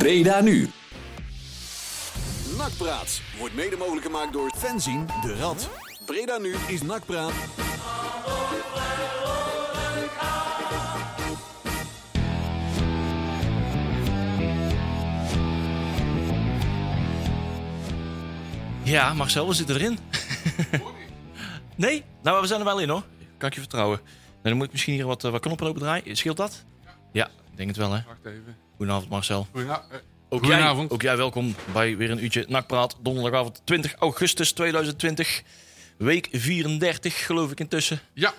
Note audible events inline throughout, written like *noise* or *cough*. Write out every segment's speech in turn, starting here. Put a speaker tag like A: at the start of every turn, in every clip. A: Breda nu.
B: Nakpraat wordt mede mogelijk gemaakt door Fenzin de Rad. Breda nu is Nakpraat.
C: Ja, Marcel, we zitten erin. nee? Nou, we zijn er wel in hoor. Kan ik je vertrouwen. Nou, dan moet ik misschien hier wat, eh, wat knoppen opendraaien. Scheelt dat? Ja, ik denk het wel hè.
D: Wacht even. nou, eh,
C: Goedenavond Marcel.
D: Goedenavond.
C: Ook jij,
D: Goedenavond.
C: ook jij welkom bij weer een uurtje Nakpraat. Donderdagavond 20 augustus 2020. Week 34 geloof ik intussen.
D: Ja,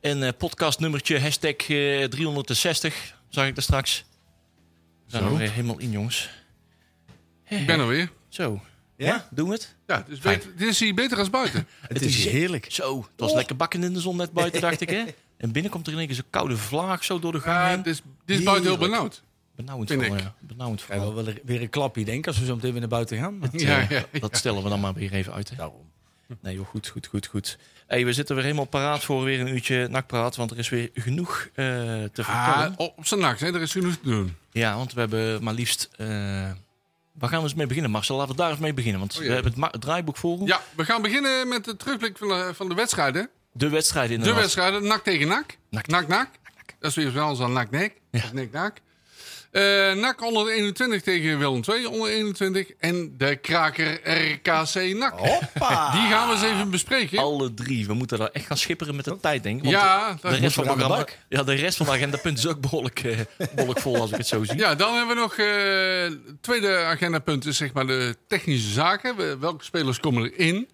C: En eh, podcastnummertje hashtag eh, 360 zag ik daar straks. We zijn
D: Zo.
C: er weer helemaal in jongens.
D: ik ben er weer.
C: Zo. Ja?
E: Ja?
C: Doen we het?
D: Ja, het is beter, dit is hier beter als
C: *laughs*
D: buiten.
E: Het is heerlijk.
C: Zo. Het
D: Oh.
C: was lekker bakken in de zon net buiten dacht
D: *laughs*
C: ik hè. En binnen komt er in één keer zo'n koude vlaag zo door de gang
D: Ja,
C: heen.
D: dit is, dit is buiten heel
C: Heerlijk.
D: benauwd.
C: Benauwend
D: Vind
C: vooral,
D: ik.
C: ja. Benauwend
E: Ja, wel
C: vooral.
E: wel weer een klapje, denk ik, als we zo meteen weer naar buiten
D: *laughs*
E: gaan. Maar,
D: Ja, ja.
C: Dat stellen we dan maar weer even uit. Hè.
D: Nou.
E: daarom.
C: Nee joh, goed, goed, goed, goed. Hey, we zitten weer helemaal paraat voor weer een uurtje nakpraat, want er is weer genoeg eh, te vertellen.
D: Ah, op zijn nacht, hè. er is genoeg te doen.
C: Ja, want we hebben maar liefst... eh, waar gaan we eens mee beginnen, Marcel? Laten we daar eens mee beginnen, want
D: Oh, ja.
C: we hebben het, ma- het draaiboek voor ons.
D: Ja, we gaan beginnen met de terugblik van de, van de wedstrijden.
C: De wedstrijd
D: De
C: inderdaad.
D: wedstrijden, NAC tegen NAC.
C: NAC.
D: NAC, NAC. Dat is weer wel eens aan NAC, NEC. Of NEC, NAC. Eh, NAC onder de 21 tegen Willem II onder 21. En de kraker RKC NAC.
C: Oh.
E: *laughs* Hoppa!
D: Die gaan we eens even bespreken.
C: Alle drie. We moeten daar echt gaan schipperen met de tijd, denk ik. Oh. want
D: Oh. ja,
C: de,
D: dat
C: rest van het
E: we aan de
C: programma,
E: bak.
C: ja, de rest van de agendapunt is ook behoorlijk, eh, behoorlijk vol, als ik het zo zie.
D: *laughs* Ja, dan hebben we nog eh, het tweede agendapunt is zeg maar de technische zaken. We- Welke spelers komen erin?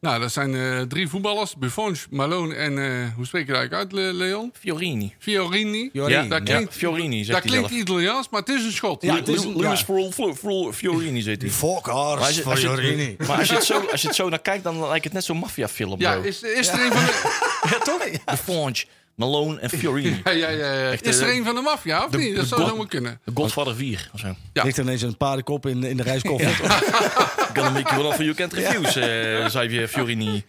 D: Nou, dat zijn eh, drie voetballers. Buffon, Malone en eh, hoe spreek je dat eigenlijk uit, Le- Leon?
C: Fiorini.
D: Fiorini.
E: Fiorini,
D: dat
C: ja.
D: klinkt,
C: Fiorini, zegt hij
D: dat klinkt
C: zelf.
D: Italiaans, maar het is een schot.
E: Ja, het is-
C: Lu- Louis Fro- Fro- Fro- Fiorini zit
D: *laughs*
C: hij. Maar als
E: Fokkers
C: je, als je-
E: *laughs*
C: maar als je, het zo, als je het zo naar kijkt, dan lijkt het net zo'n maffiafilm.
D: Ja,
C: bro.
D: is, is er een van de,
C: Ja, toch? De Fonge, Malone en Fiorini.
D: *laughs* ja, ja, ja, ja.
C: Echt,
D: Is er
C: eh,
D: een van de maffia, of
C: de-
D: niet? Dat
C: de
D: zou
C: bot-
D: zomaar kunnen.
C: The Godfather 4 of zo.
D: Ja.
E: Ligt er ineens een paardenkop in, in de reiskoffer. Ja.
C: Gonna make you one for you can't refuse, eh, zei je Fiorini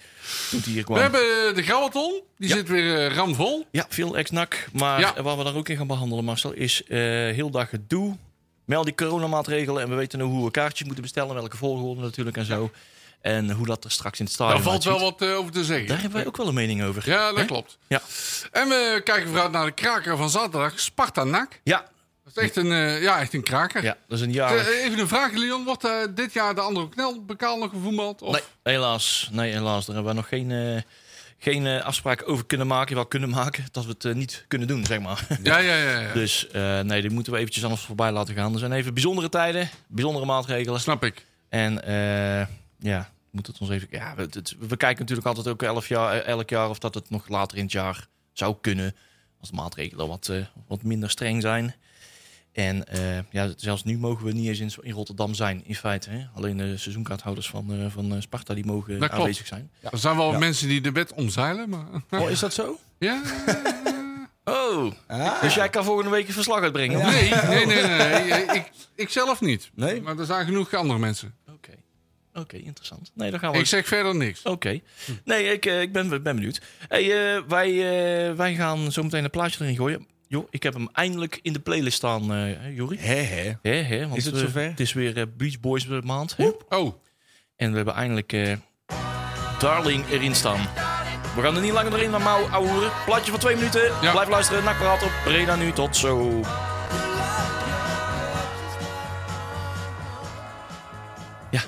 C: toen hij hier kwam.
D: We hebben eh, de Grauwaton. Die zit weer eh, ramvol.
C: Ja, veel ex-nak. Maar
D: Ja.
C: waar we daar ook in gaan behandelen, Marcel, is eh, heel dag gedoe. Met al die coronamaatregelen en we weten nu hoe we kaartjes moeten bestellen, welke volgorde natuurlijk en zo. En hoe dat er straks in het stadion
D: Daar valt wel
C: uitziet.
D: wat eh, over te zeggen.
C: Daar hebben wij ook wel een mening over.
D: Ja, dat
C: Hè?
D: klopt.
C: Ja.
D: En we kijken vooruit naar de kraker van zaterdag, Sparta-NAC.
C: Ja,
D: Dat is echt een, eh, ja, echt een kraker.
C: ja, dat is een jaar.
D: Eh, Even een vraag, Leon. Wordt eh, dit jaar de andere knelbekaal nog gevoetbald? Of?
C: Nee, helaas. Nee, helaas. Daar hebben we nog geen, eh, geen eh, afspraak over kunnen maken. Wel kunnen maken, dat we het eh, niet kunnen doen, zeg maar.
D: Ja, ja, ja. ja.
C: Dus eh, nee, die moeten we eventjes anders voorbij laten gaan. Er zijn even bijzondere tijden, bijzondere maatregelen.
D: Snap ik.
C: En eh, ja, moet het ons even. Ja, we, het- we kijken natuurlijk altijd ook elf jaar, eh, elk jaar of dat het nog later in het jaar zou kunnen. Als de maatregelen wat, eh, wat minder streng zijn. En eh, ja, zelfs nu mogen we niet eens in, in Rotterdam zijn, in feite. Hè? Alleen de seizoenkaarthouders van, eh, van eh, Sparta die mogen
D: Dat klopt.
C: aanwezig zijn.
D: Er zijn wel mensen die de wet omzeilen, maar... *laughs*
E: Oh, is dat zo?
D: Ja?
C: Oh, dus jij kan volgende week een verslag uitbrengen? of niet?
D: Nee, nee, nee. nee. Ik, ik zelf niet.
E: Nee?
D: Maar er zijn genoeg andere mensen.
C: Oké, Oké, interessant. Nee, dan gaan we
D: Ik zeg verder niks.
C: Oké. Nee, ik, eh, ik ben, ben benieuwd. Hey, eh, wij, eh, wij gaan zo meteen een plaatje erin gooien. Joh, ik heb hem eindelijk in de playlist staan, eh Jori.
E: Hé, hé.
C: Hè, hè, want,
E: Is het
C: eh,
E: zover?
C: het is weer eh, Beach Boys per maand. hè?
D: Oh,
C: En we hebben eindelijk eh, Darling erin staan. We gaan er niet langer erin, maar mouw ouwe. Plaatje van twee minuten.
D: Ja.
C: Blijf luisteren. Nakpraat op Breda nu. Tot zo. Ja,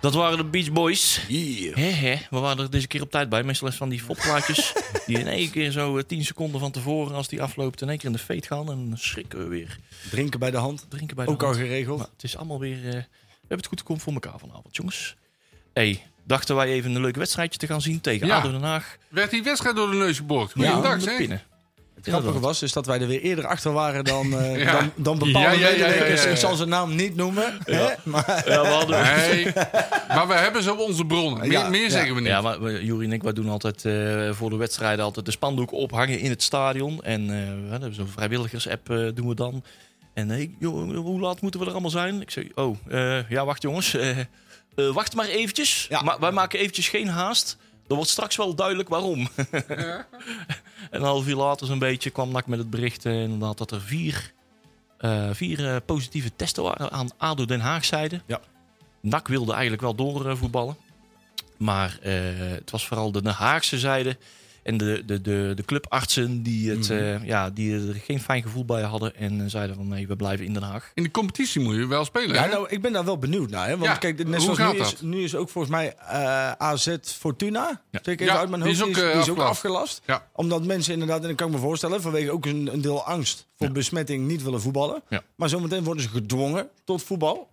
C: dat waren de Beach Boys.
A: Yeah.
C: Hé, hé, we waren er deze keer op tijd bij. Meestal is het van die fopplaatjes die in één keer zo eh, 10 seconden van tevoren, als die afloopt, in één keer in de feet gaan. En dan schrikken we weer.
E: Drinken bij de hand.
C: Drinken bij de
E: Ook al
C: hand.
E: geregeld.
C: Maar het is allemaal weer... eh, we hebben het goed gekomen voor elkaar vanavond, jongens. Hé, hey, dachten wij even een leuk wedstrijdje te gaan zien tegen
D: Ja.
C: ADO Den Haag.
D: werd die wedstrijd door de neus geboord.
E: Ja,
D: Goeiedag,
C: Om de
D: zeg.
C: pinnen.
E: Het grappige was dus dat wij er weer eerder achter waren dan, eh,
D: Ja.
E: dan, dan bepaalde
D: Ja, ja, ja, ja,
E: medewerkers.
D: ja, ja.
E: Ik zal zijn naam niet noemen. Hè? Maar,
C: Ja, we hadden...
D: Nee, maar we hebben ze op onze bronnen. Meer,
E: Ja,
D: meer
E: ja.
D: zeggen we niet.
C: Ja, maar we- Juri en ik, wij doen altijd eh, voor de wedstrijden altijd de spandoeken ophangen in het stadion. En eh, we hebben zo'n vrijwilligers-app eh, doen we dan. En hey, joh, hoe laat moeten we er allemaal zijn? Ik zeg, oh, eh, ja, wacht jongens. Eh, eh, wacht maar eventjes.
E: Ja.
C: Maar wij maken eventjes geen haast. Er wordt straks wel duidelijk waarom. *laughs* en een half uur later zo'n beetje kwam NAC met het bericht eh, inderdaad dat er vier eh, vier eh, positieve testen waren aan ADO Den Haag zijde.
E: Ja.
C: NAC wilde eigenlijk wel door eh, voetballen. Maar eh, het was vooral de Den Haagse zijde. En de, de, de, de clubartsen die, het,
D: Mhm.
C: eh, ja, die er geen fijn gevoel bij hadden. En eh, zeiden van nee, we blijven in Den Haag.
D: In de competitie moet je wel spelen.
E: Ja,
D: hè?
E: nou, ik ben daar wel benieuwd naar. Hè? Want
D: Ja,
E: kijk,
D: hoe
E: net zoals
D: gaat
E: nu is,
D: dat?
E: nu is ook volgens mij eh, AZ Fortuna.
C: Ja.
E: Zeker even
D: Ja,
E: uit mijn
D: die
E: hoofd.
D: is ook, eh,
E: die is ook
D: afgelast.
E: afgelast.
D: Ja.
E: Omdat mensen inderdaad, en dat kan ik me voorstellen, vanwege ook een, een deel angst voor besmetting niet willen voetballen.
C: Ja.
E: Maar zometeen worden ze gedwongen tot voetbal.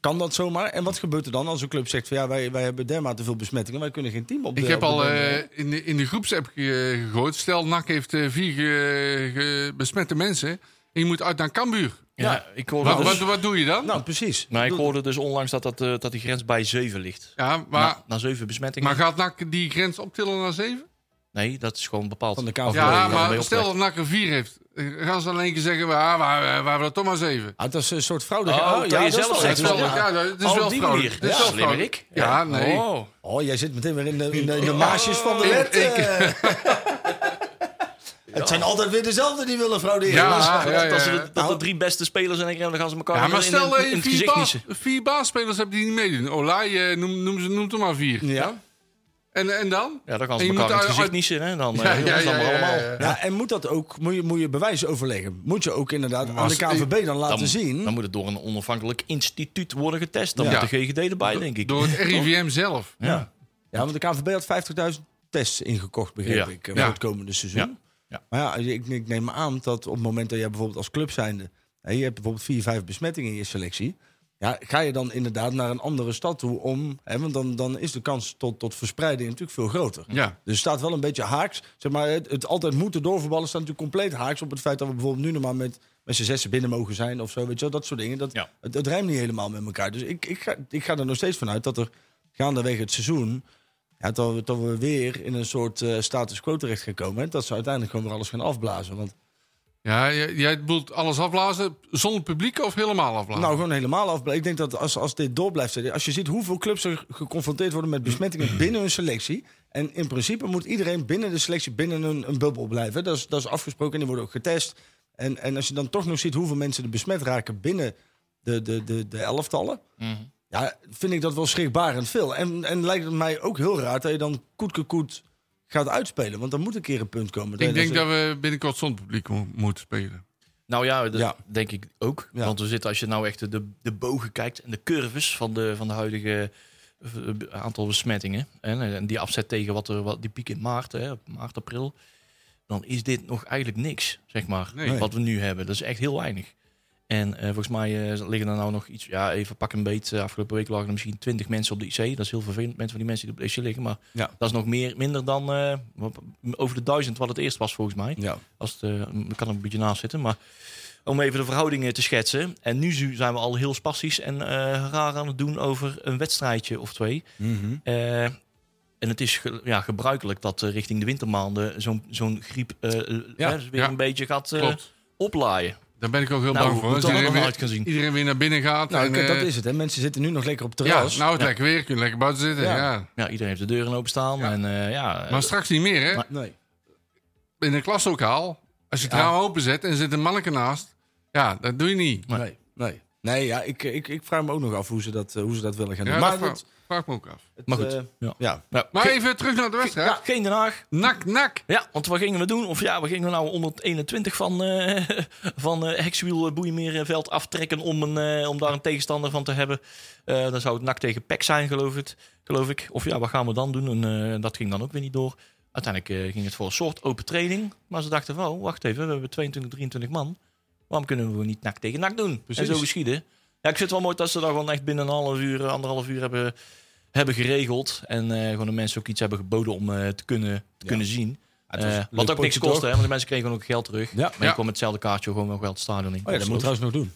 E: Kan dat zomaar? En wat gebeurt er dan als een club zegt van ja, wij, wij hebben dermate veel besmettingen, wij kunnen geen team op de-
D: Ik heb
E: op de
D: al
E: been, eh,
D: eh, in, de, in de groepsapp ge- gegooid. Stel, NAC heeft eh, vier ge- ge- besmette mensen. En je moet uit naar Cambuur.
C: Ja,
E: Ja.
C: ik hoorde
D: Wat,
C: dus,
D: wat, wat doe je dan?
E: Nou, precies.
C: nou, ik hoorde dus onlangs dat, dat, eh, dat die grens bij 7 ligt.
D: ja, maar,
C: Na, na 7 besmettingen.
D: maar gaat NAC die grens optillen naar zeven?
C: nee, dat is gewoon bepaald.
E: Van de KNVB.
C: Of, eh,
D: Ja,
C: daarmee
D: maar
C: opgelegd.
D: stel dat NAC er vier heeft. eh, Gaan ze dan één keer zeggen, ah, we, we, we hebben er toch maar zeven.
E: Ah, dat is een soort fraude.
C: Oh,
E: ja,
C: dat
E: ja,
C: je
E: dat is
C: zelf
E: wel
C: zegt
E: echt wel-
C: van, ja.
D: ja, dat is
C: Oh,
D: wel
C: op die
D: fraude.
C: manier.
D: Dit is
C: Ja.
D: wel fraude.
C: Slimmerik.
D: Ja, nee.
C: Oh.
E: Oh, jij zit meteen weer in de, in de, in de maasjes van de wet. eh. Het zijn altijd weer dezelfde die willen frauderen.
D: Ja,
E: Dus-
D: ja, ja.
C: Dat, ze de, dat de drie beste spelers zijn en dan gaan ze elkaar
D: Ja,
C: in-
D: maar
C: in-
D: stel
C: in,
D: eh, dat
C: in
D: je
C: het
D: vier,
C: gezicht
D: baas-
C: niezen.
D: vier baasspelers hebt die niet meedoen. Olai, eh, noem, noem, ze- noem er maar vier.
E: Ja.
D: En, en dan?
C: Ja, dan gaan ze
D: En je
C: elkaar
D: moet
C: in het
D: uit-
C: gezicht niezen. Hè? Dan, eh,
D: Ja,
C: heel
D: ja,
C: erg
D: ja,
C: dan maar
D: ja,
C: allemaal.
D: ja, ja.
E: Ja, en moet dat ook, moet je, moet je bewijs overleggen? Moet je ook inderdaad aan
D: als-
E: de KVB dan laten
C: Dan,
E: zien?
C: dan moet het door een onafhankelijk instituut worden getest. Dan
D: Ja.
C: moet de GGD erbij, denk ik.
D: Door
C: *laughs*
D: het RIVM zelf.
C: Ja.
E: ja, want de KVB had 50.000 tests ingekocht, begreep
C: Ja.
E: ik, eh,
D: Ja.
E: voor het komende seizoen.
C: Ja. Ja.
E: Maar ja, ik, ik neem aan dat op het moment dat jij bijvoorbeeld als club zijnde... hè, je hebt bijvoorbeeld vier, vijf besmettingen in je selectie... Ja, ga je dan inderdaad naar een andere stad toe om... Hè, want dan, dan is de kans tot, tot verspreiding natuurlijk veel groter.
D: Ja.
E: Dus het staat wel een beetje haaks. Zeg maar, het, het altijd moeten doorverballen staat natuurlijk compleet haaks op het feit dat we bijvoorbeeld nu nog maar met, met z'n zessen binnen mogen zijn of zo. Weet je wel, dat soort dingen. Dat,
C: Ja.
E: het, het rijmt niet helemaal met elkaar. Dus ik, ik, ga, ik ga er nog steeds vanuit dat er gaandeweg het seizoen. Ja, dat, we, dat we weer in een soort eh, status quo terecht gaan komen. En dat ze uiteindelijk gewoon weer alles gaan afblazen. Want
D: Ja, jij, jij bedoelt alles afblazen zonder publiek of helemaal afblazen?
E: nou, gewoon helemaal afblazen. Ik denk dat als, als dit door blijft. Als je ziet hoeveel clubs er geconfronteerd worden met
D: Mm.
E: besmettingen binnen hun selectie. En in principe moet iedereen binnen de selectie binnen een, een bubbel blijven. Dat is, dat is afgesproken en die worden ook getest. En, en als je dan toch nog ziet hoeveel mensen er besmet raken binnen de, de, de, de elftallen.
D: Mm.
E: Ja, vind ik dat wel schrikbarend veel. En, en lijkt het mij ook heel raar dat je dan koetkekoet gaat uitspelen. Want dan moet een keer een punt komen.
D: ik denk dat we binnenkort zonder publiek mo- moeten spelen.
C: Nou ja, dat
E: Ja.
C: denk ik ook.
E: Ja.
C: Want we zitten, als je nou echt de, de bogen kijkt en de curves van de, van de huidige eh, aantal besmettingen. En, en die afzet tegen wat er, wat, die piek in maart, hè, op maart, april. Dan is dit nog eigenlijk niks, zeg maar.
D: Nee.
C: Wat we nu hebben. Dat is echt heel weinig. En eh, volgens mij eh, liggen er nou nog iets, ja, even pak een beet. eh, afgelopen week lagen er misschien twintig mensen op de IC. Dat is heel vervelend, mensen van die mensen die op de IC liggen. Maar
E: Ja.
C: dat is nog meer, minder dan eh, wat- over de duizend wat het eerst was, volgens mij.
E: Ja.
C: Als het, eh, ik kan er een beetje naast zitten, maar om even de verhoudingen te schetsen. En nu zu- zijn we al heel spastisch en eh, raar aan het doen over een wedstrijdje of twee.
D: Mhm.
C: Eh, en het is ge- ja, gebruikelijk dat eh, richting de wintermaanden zo'n zo'n griep eh,
E: Ja,
C: eh, weer
D: ja.
C: een beetje gaat eh,
D: Klopt.
C: oplaaien.
D: Daar ben ik ook heel
C: Nou,
D: bang voor.
C: hoe
D: Als
C: dat er dan
D: iedereen, weer,
C: uit kan zien.
D: iedereen weer naar binnen gaat.
E: Nou,
D: en,
E: kijk, dat
D: eh,
E: is het. Hè. Mensen zitten nu nog lekker op het
D: ja,
E: terras.
D: nou het lekker weer. Kun je lekker buiten zitten. Ja.
E: Ja.
C: Ja, iedereen heeft de deuren openstaan. En, eh, ja, eh,
D: Maar straks niet meer, hè?
C: Maar-
E: nee.
D: In een klaslokaal. Als je het raam openzet en er zit een manneke naast. Ja, dat doe je niet.
C: Maar-
E: Nee, nee. Nee, ja, ik, eh, ik, ik vraag me ook nog af hoe ze dat, eh, hoe ze dat willen gaan doen.
D: Ja,
E: maar
D: dat vraag,
E: goed,
D: vraag me ook af.
E: het,
C: maar goed,
E: eh,
C: ja.
E: ja.
C: Nou,
D: Maar
C: ge-
D: even terug naar de wedstrijd.
C: ja, geen Den Haag.
D: Nak, nak.
C: Ja, want wat gingen we doen? Of ja, we gingen nou 121 van, eh *laughs* van eh Hexwiel Boeimeerveld aftrekken om, een, eh, om daar een tegenstander van te hebben. Eh, dan zou het NAC tegen PEC zijn, geloof, het, geloof ik. Of ja, wat gaan we dan doen? En eh, dat ging dan ook weer niet door. Uiteindelijk eh, ging het voor een soort open training. Maar ze dachten van, oh, wacht even, we hebben 22, 23 man. Waarom kunnen we niet NAC tegen NAC doen? En zo geschieden. Ja, ik vind het wel mooi dat ze daar gewoon echt binnen een half uur, eh, anderhalf uur hebben, hebben geregeld. En eh, gewoon de mensen ook iets hebben geboden om eh, te, kunnen, te kunnen zien.
E: het was
C: Eh,
E: een leuk
C: wat ook niks
E: potje,
C: kostte, Oh
E: toch?
C: hè, want de mensen kregen gewoon ook geld terug.
E: Ja.
C: Maar
D: Ja.
C: je kwam met hetzelfde kaartje gewoon wel geld het stadion in.
E: Oh ja, dat moet ik trouwens nog doen.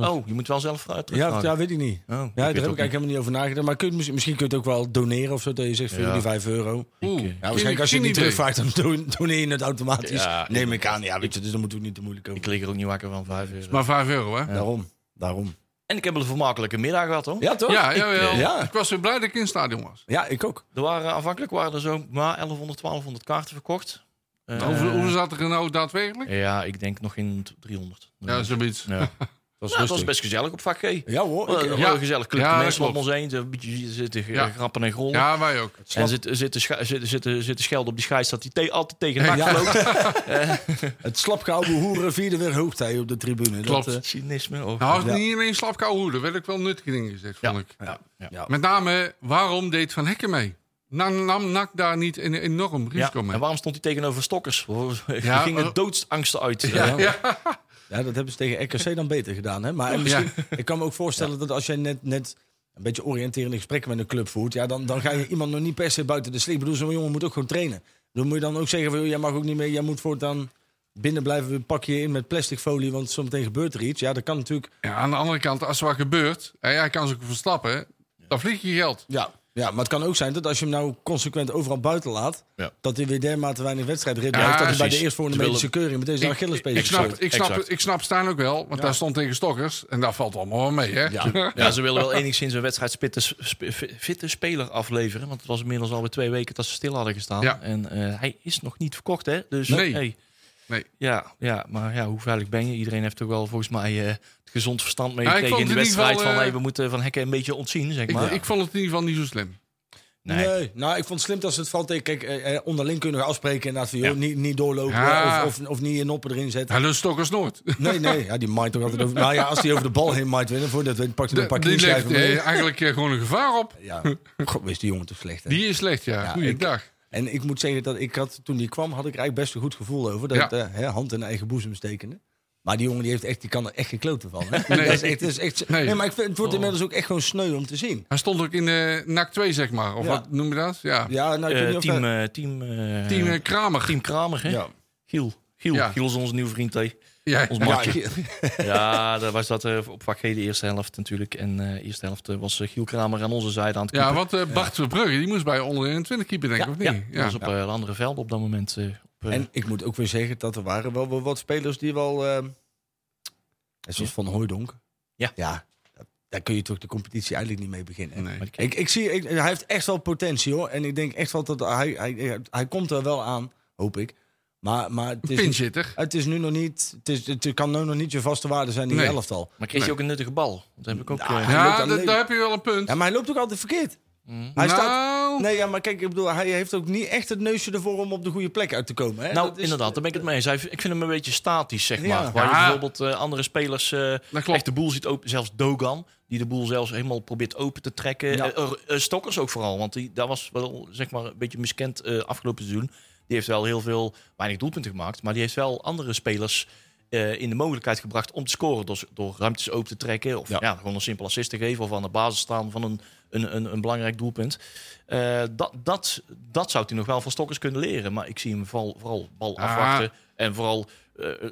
C: Oh, je moet wel zelf eh,
E: Ja,
C: terugvragen.
E: ja, weet ik niet.
C: Oh,
E: Ja, daar
C: weet
E: heb ik
C: ook
E: eigenlijk
C: niet.
E: helemaal niet over nagedacht. Maar kun je, misschien- misschien kun je het ook wel doneren of zo. Dat je zegt voor
C: Ja.
E: jullie 5 euro.
D: Oeh,
C: eh,
E: Ja, waarschijnlijk als je het niet terugvraagt, dan do- doneer je het automatisch.
C: Ja, ik-
E: Neem ik aan. Ja, weet je, dus dan moeten we niet te moeilijk over.
C: Ik lig er ook niet wakker van vijf euro.
D: Maar 5 euro, hè?
E: Daarom. Daarom.
C: En ik heb een vermakelijke middag gehad, hoor.
E: Ja, toch?
D: Ja, ja, ja.
E: ja.
D: Ik was weer blij dat ik in het stadion was.
E: Ja, ik ook.
C: eh, Er waren, aanvankelijk waren er zo maar 1100, 1200 kaarten verkocht. Eh,
D: hoeveel, hoeveel zat er nou daadwerkelijk?
C: Ja, ik denk nog in 300.
D: Ja, zoiets.
C: Ja. Nou,
E: *laughs* Dat
C: dat was Oh, best gezellig op vak G. Ja,
E: Ja hoor. ik-
C: Een
D: ja.
C: gezellig clubje
D: Ja, dat
C: mensen om
D: klopt.
C: ons heen. Een beetje zitten ge-
D: Ja.
C: grappen en rollen.
D: Ja, wij ook.
C: En zitten zitten scha- zitten- zitten- zitten schelden op die scheids dat hij te- altijd tegen de bak
E: Ja.
C: loopt.
E: *laughs* het slapgehouden hoeren vierde weer hoogtij op de tribune.
D: Klopt.
E: Dat, eh,
C: Cynisme. Of,
D: Nou, had
E: Ja.
D: niet alleen slapkoude hoeden. Werd ook wel nuttige dingen gezegd,
C: Ja.
D: vond ik.
E: ja.
D: Met name, waarom deed Van Hekken mee? Nam, nam NAC daar niet een enorm
C: ja.
D: risico
C: En
D: mee?
C: waarom stond hij tegenover stokkers? Er
D: Ja, eh,
C: gingen
D: maar-
C: doodsangsten uit.
E: Ja.
C: Eh,
E: Ja, dat hebben ze tegen RKC dan beter gedaan. Hè? Maar en misschien, ik kan me ook voorstellen dat als jij net, net een beetje oriënterende gesprekken met een club voert, ja, dan, dan ga je iemand nog niet per se buiten de slik. Ik bedoel, zo'n jongen moet ook gewoon trainen. Dan moet je dan ook zeggen van, joh, jij mag ook niet meer, jij moet voortaan binnen blijven, we pakken je in met plastic folie, want zometeen gebeurt er iets. Ja, dat kan natuurlijk.
D: Ja, aan de andere kant, als er wat gebeurt... en jij kan ze ook verstappen, dan vlieg je geld.
E: Ja. ja, maar het kan ook zijn dat als je hem nou consequent overal buiten laat,
C: Ja.
E: dat hij weer dermate weinig wedstrijdritme
D: Ja,
E: heeft, dat hij bij de
C: precies.
E: eerstvolgende
C: Terwijl
E: medische keuring meteen zijn
D: ik,
E: Achillespees
D: ik, snap,
E: scheurt.
D: ik, snap,
C: Exact.
D: ik snap Stijn ook wel, want daar stond tegen Stokkers. En dat valt allemaal wel mee, hè?
C: Ja. Ja, ze willen wel enigszins een wedstrijdspitte sp- fitte speler afleveren. Want het was inmiddels alweer twee weken dat ze stil hadden gestaan.
D: Ja.
C: En eh, hij is nog niet verkocht, hè? Dus
D: Nee.
C: hey.
D: Nee.
C: Ja, ja, maar ja, hoe veilig ben je? Iedereen heeft toch wel volgens mij eh, het gezond verstand
D: Ja, ik
C: meegekregen
D: vond
C: in de
D: het in ieder
C: wedstrijd. van
D: geval, eh,
C: hey, we moeten van hekken een beetje ontzien, zeg
D: *laughs* Ik,
C: maar.
D: ik eh, vond het in ieder geval niet zo slim.
C: nee.
E: Nee. nou, ik vond het slim dat ze het valt tegen. Kijk, eh, eh, onderling kunnen we afspreken inderdaad van, joh,
C: Ja.
E: niet, niet doorlopen
D: Ja.
E: of, of, of niet je noppen erin
D: *laughs*
E: zetten.
D: Hij lust Stokkers nooit.
E: Nee, nee, ja, die maait toch altijd over. Nou ja, als hij over de bal heen maait winnen, voordat we pakt hij
D: *laughs* Die
E: een paar
D: legt
E: knieschijven
D: eh,
E: mee.
D: eigenlijk eh, gewoon een gevaar op.
E: Ja, god, is die jongen te slecht. Hè?
D: Die is slecht, ja.
E: Ja,
D: Goeiedag.
E: En ik moet zeggen dat ik had, toen die kwam, had ik er eigenlijk best een goed gevoel over. Dat
D: Ja.
E: het, eh, hè, hand in eigen boezem stekende. Maar die jongen die heeft echt, die kan er echt geen klote van. Hè?
D: *laughs* Nee.
E: Dat is echt, dat is echt,
D: Nee. Oh.
E: nee. maar ik vind, het wordt inmiddels ook echt gewoon sneu om te zien.
D: Hij stond ook in eh NAC 2, zeg maar. Of
E: Ja.
D: wat noem je dat? Ja.
E: Ja, nou, ik
C: Eh,
E: weet niet of
C: team,
E: dat-
C: eh, team, eh,
D: Team eh, Kramer.
C: team Kramer, hè?
E: ja.
C: Giel. Giel.
D: Ja.
C: Giel is onze nieuwe vriend, hè?
D: Ja.
C: Ons
E: Ja,
C: matje. Ja, dat was dat eh, op vak G de eerste helft natuurlijk. En eh eerste helft eh, was eh, Giel Kramer aan onze zijde aan het
D: Ja, want eh, Bart Verbrugge, die moest bij onder 21 keeper, denk ik,
C: Ja,
D: of niet?
C: Ja,
D: Ja.
C: dat was op eh, een andere veld op dat moment. eh, op, eh,
E: En ik moet ook weer zeggen dat er waren wel, wel wat spelers die wel... ehm, zoals Van Hooijdonk.
C: Ja.
E: ja dat- daar kun je toch de competitie eigenlijk niet mee beginnen. hè?
D: Nee.
E: Ik, ik zie, ik, hij heeft echt wel potentie hoor. En ik denk echt wel dat hij, hij, hij, hij komt er wel aan, hoop ik. Maar, maar het, is,
D: Pinchitter.
E: het is nu nog niet, het, is, het kan nu nog niet je vaste waarde zijn in
D: Nee.
E: je elftal.
C: maar kreeg je
D: Nee.
C: ook een nuttige bal? Dat heb ik ook.
E: Nou,
C: eh,
E: hij loopt
D: Ja,
E: aan
D: dat-
E: le-
D: daar heb je wel een punt.
E: Ja, maar hij loopt ook altijd verkeerd.
C: mm.
E: Hij
D: nou,
E: staat, nee, ja, maar kijk, ik bedoel, hij heeft ook niet echt het neusje ervoor om op de goede plek uit te komen. Hè?
C: nou,
E: Dat is-
C: inderdaad, daar ben ik het mee eens. Hij- Ik vind hem een beetje statisch, zeg
E: Ja.
C: maar. Waar je
D: Ja.
C: bijvoorbeeld eh, andere spelers eh,
D: dat klopt.
C: echt de boel ziet open. Zelfs Dogan, die de boel zelfs helemaal probeert open te trekken.
E: Ja.
C: Eh, er- eh, Stokkers ook vooral, want die, daar was wel zeg maar, een beetje miskend eh, afgelopen seizoen. Die heeft wel heel veel, weinig doelpunten gemaakt. Maar die heeft wel andere spelers eh, in de mogelijkheid gebracht om te scoren. Door, door ruimtes open te trekken. Of ja.
E: Ja.
C: gewoon een simpel assist te geven. Of aan de basis staan van een, een, een, een belangrijk doelpunt. Eh, dat, dat, dat zou hij nog wel van Stokkers kunnen leren. Maar ik zie hem vooral, vooral bal
D: Ah.
C: afwachten. En vooral eh, eh,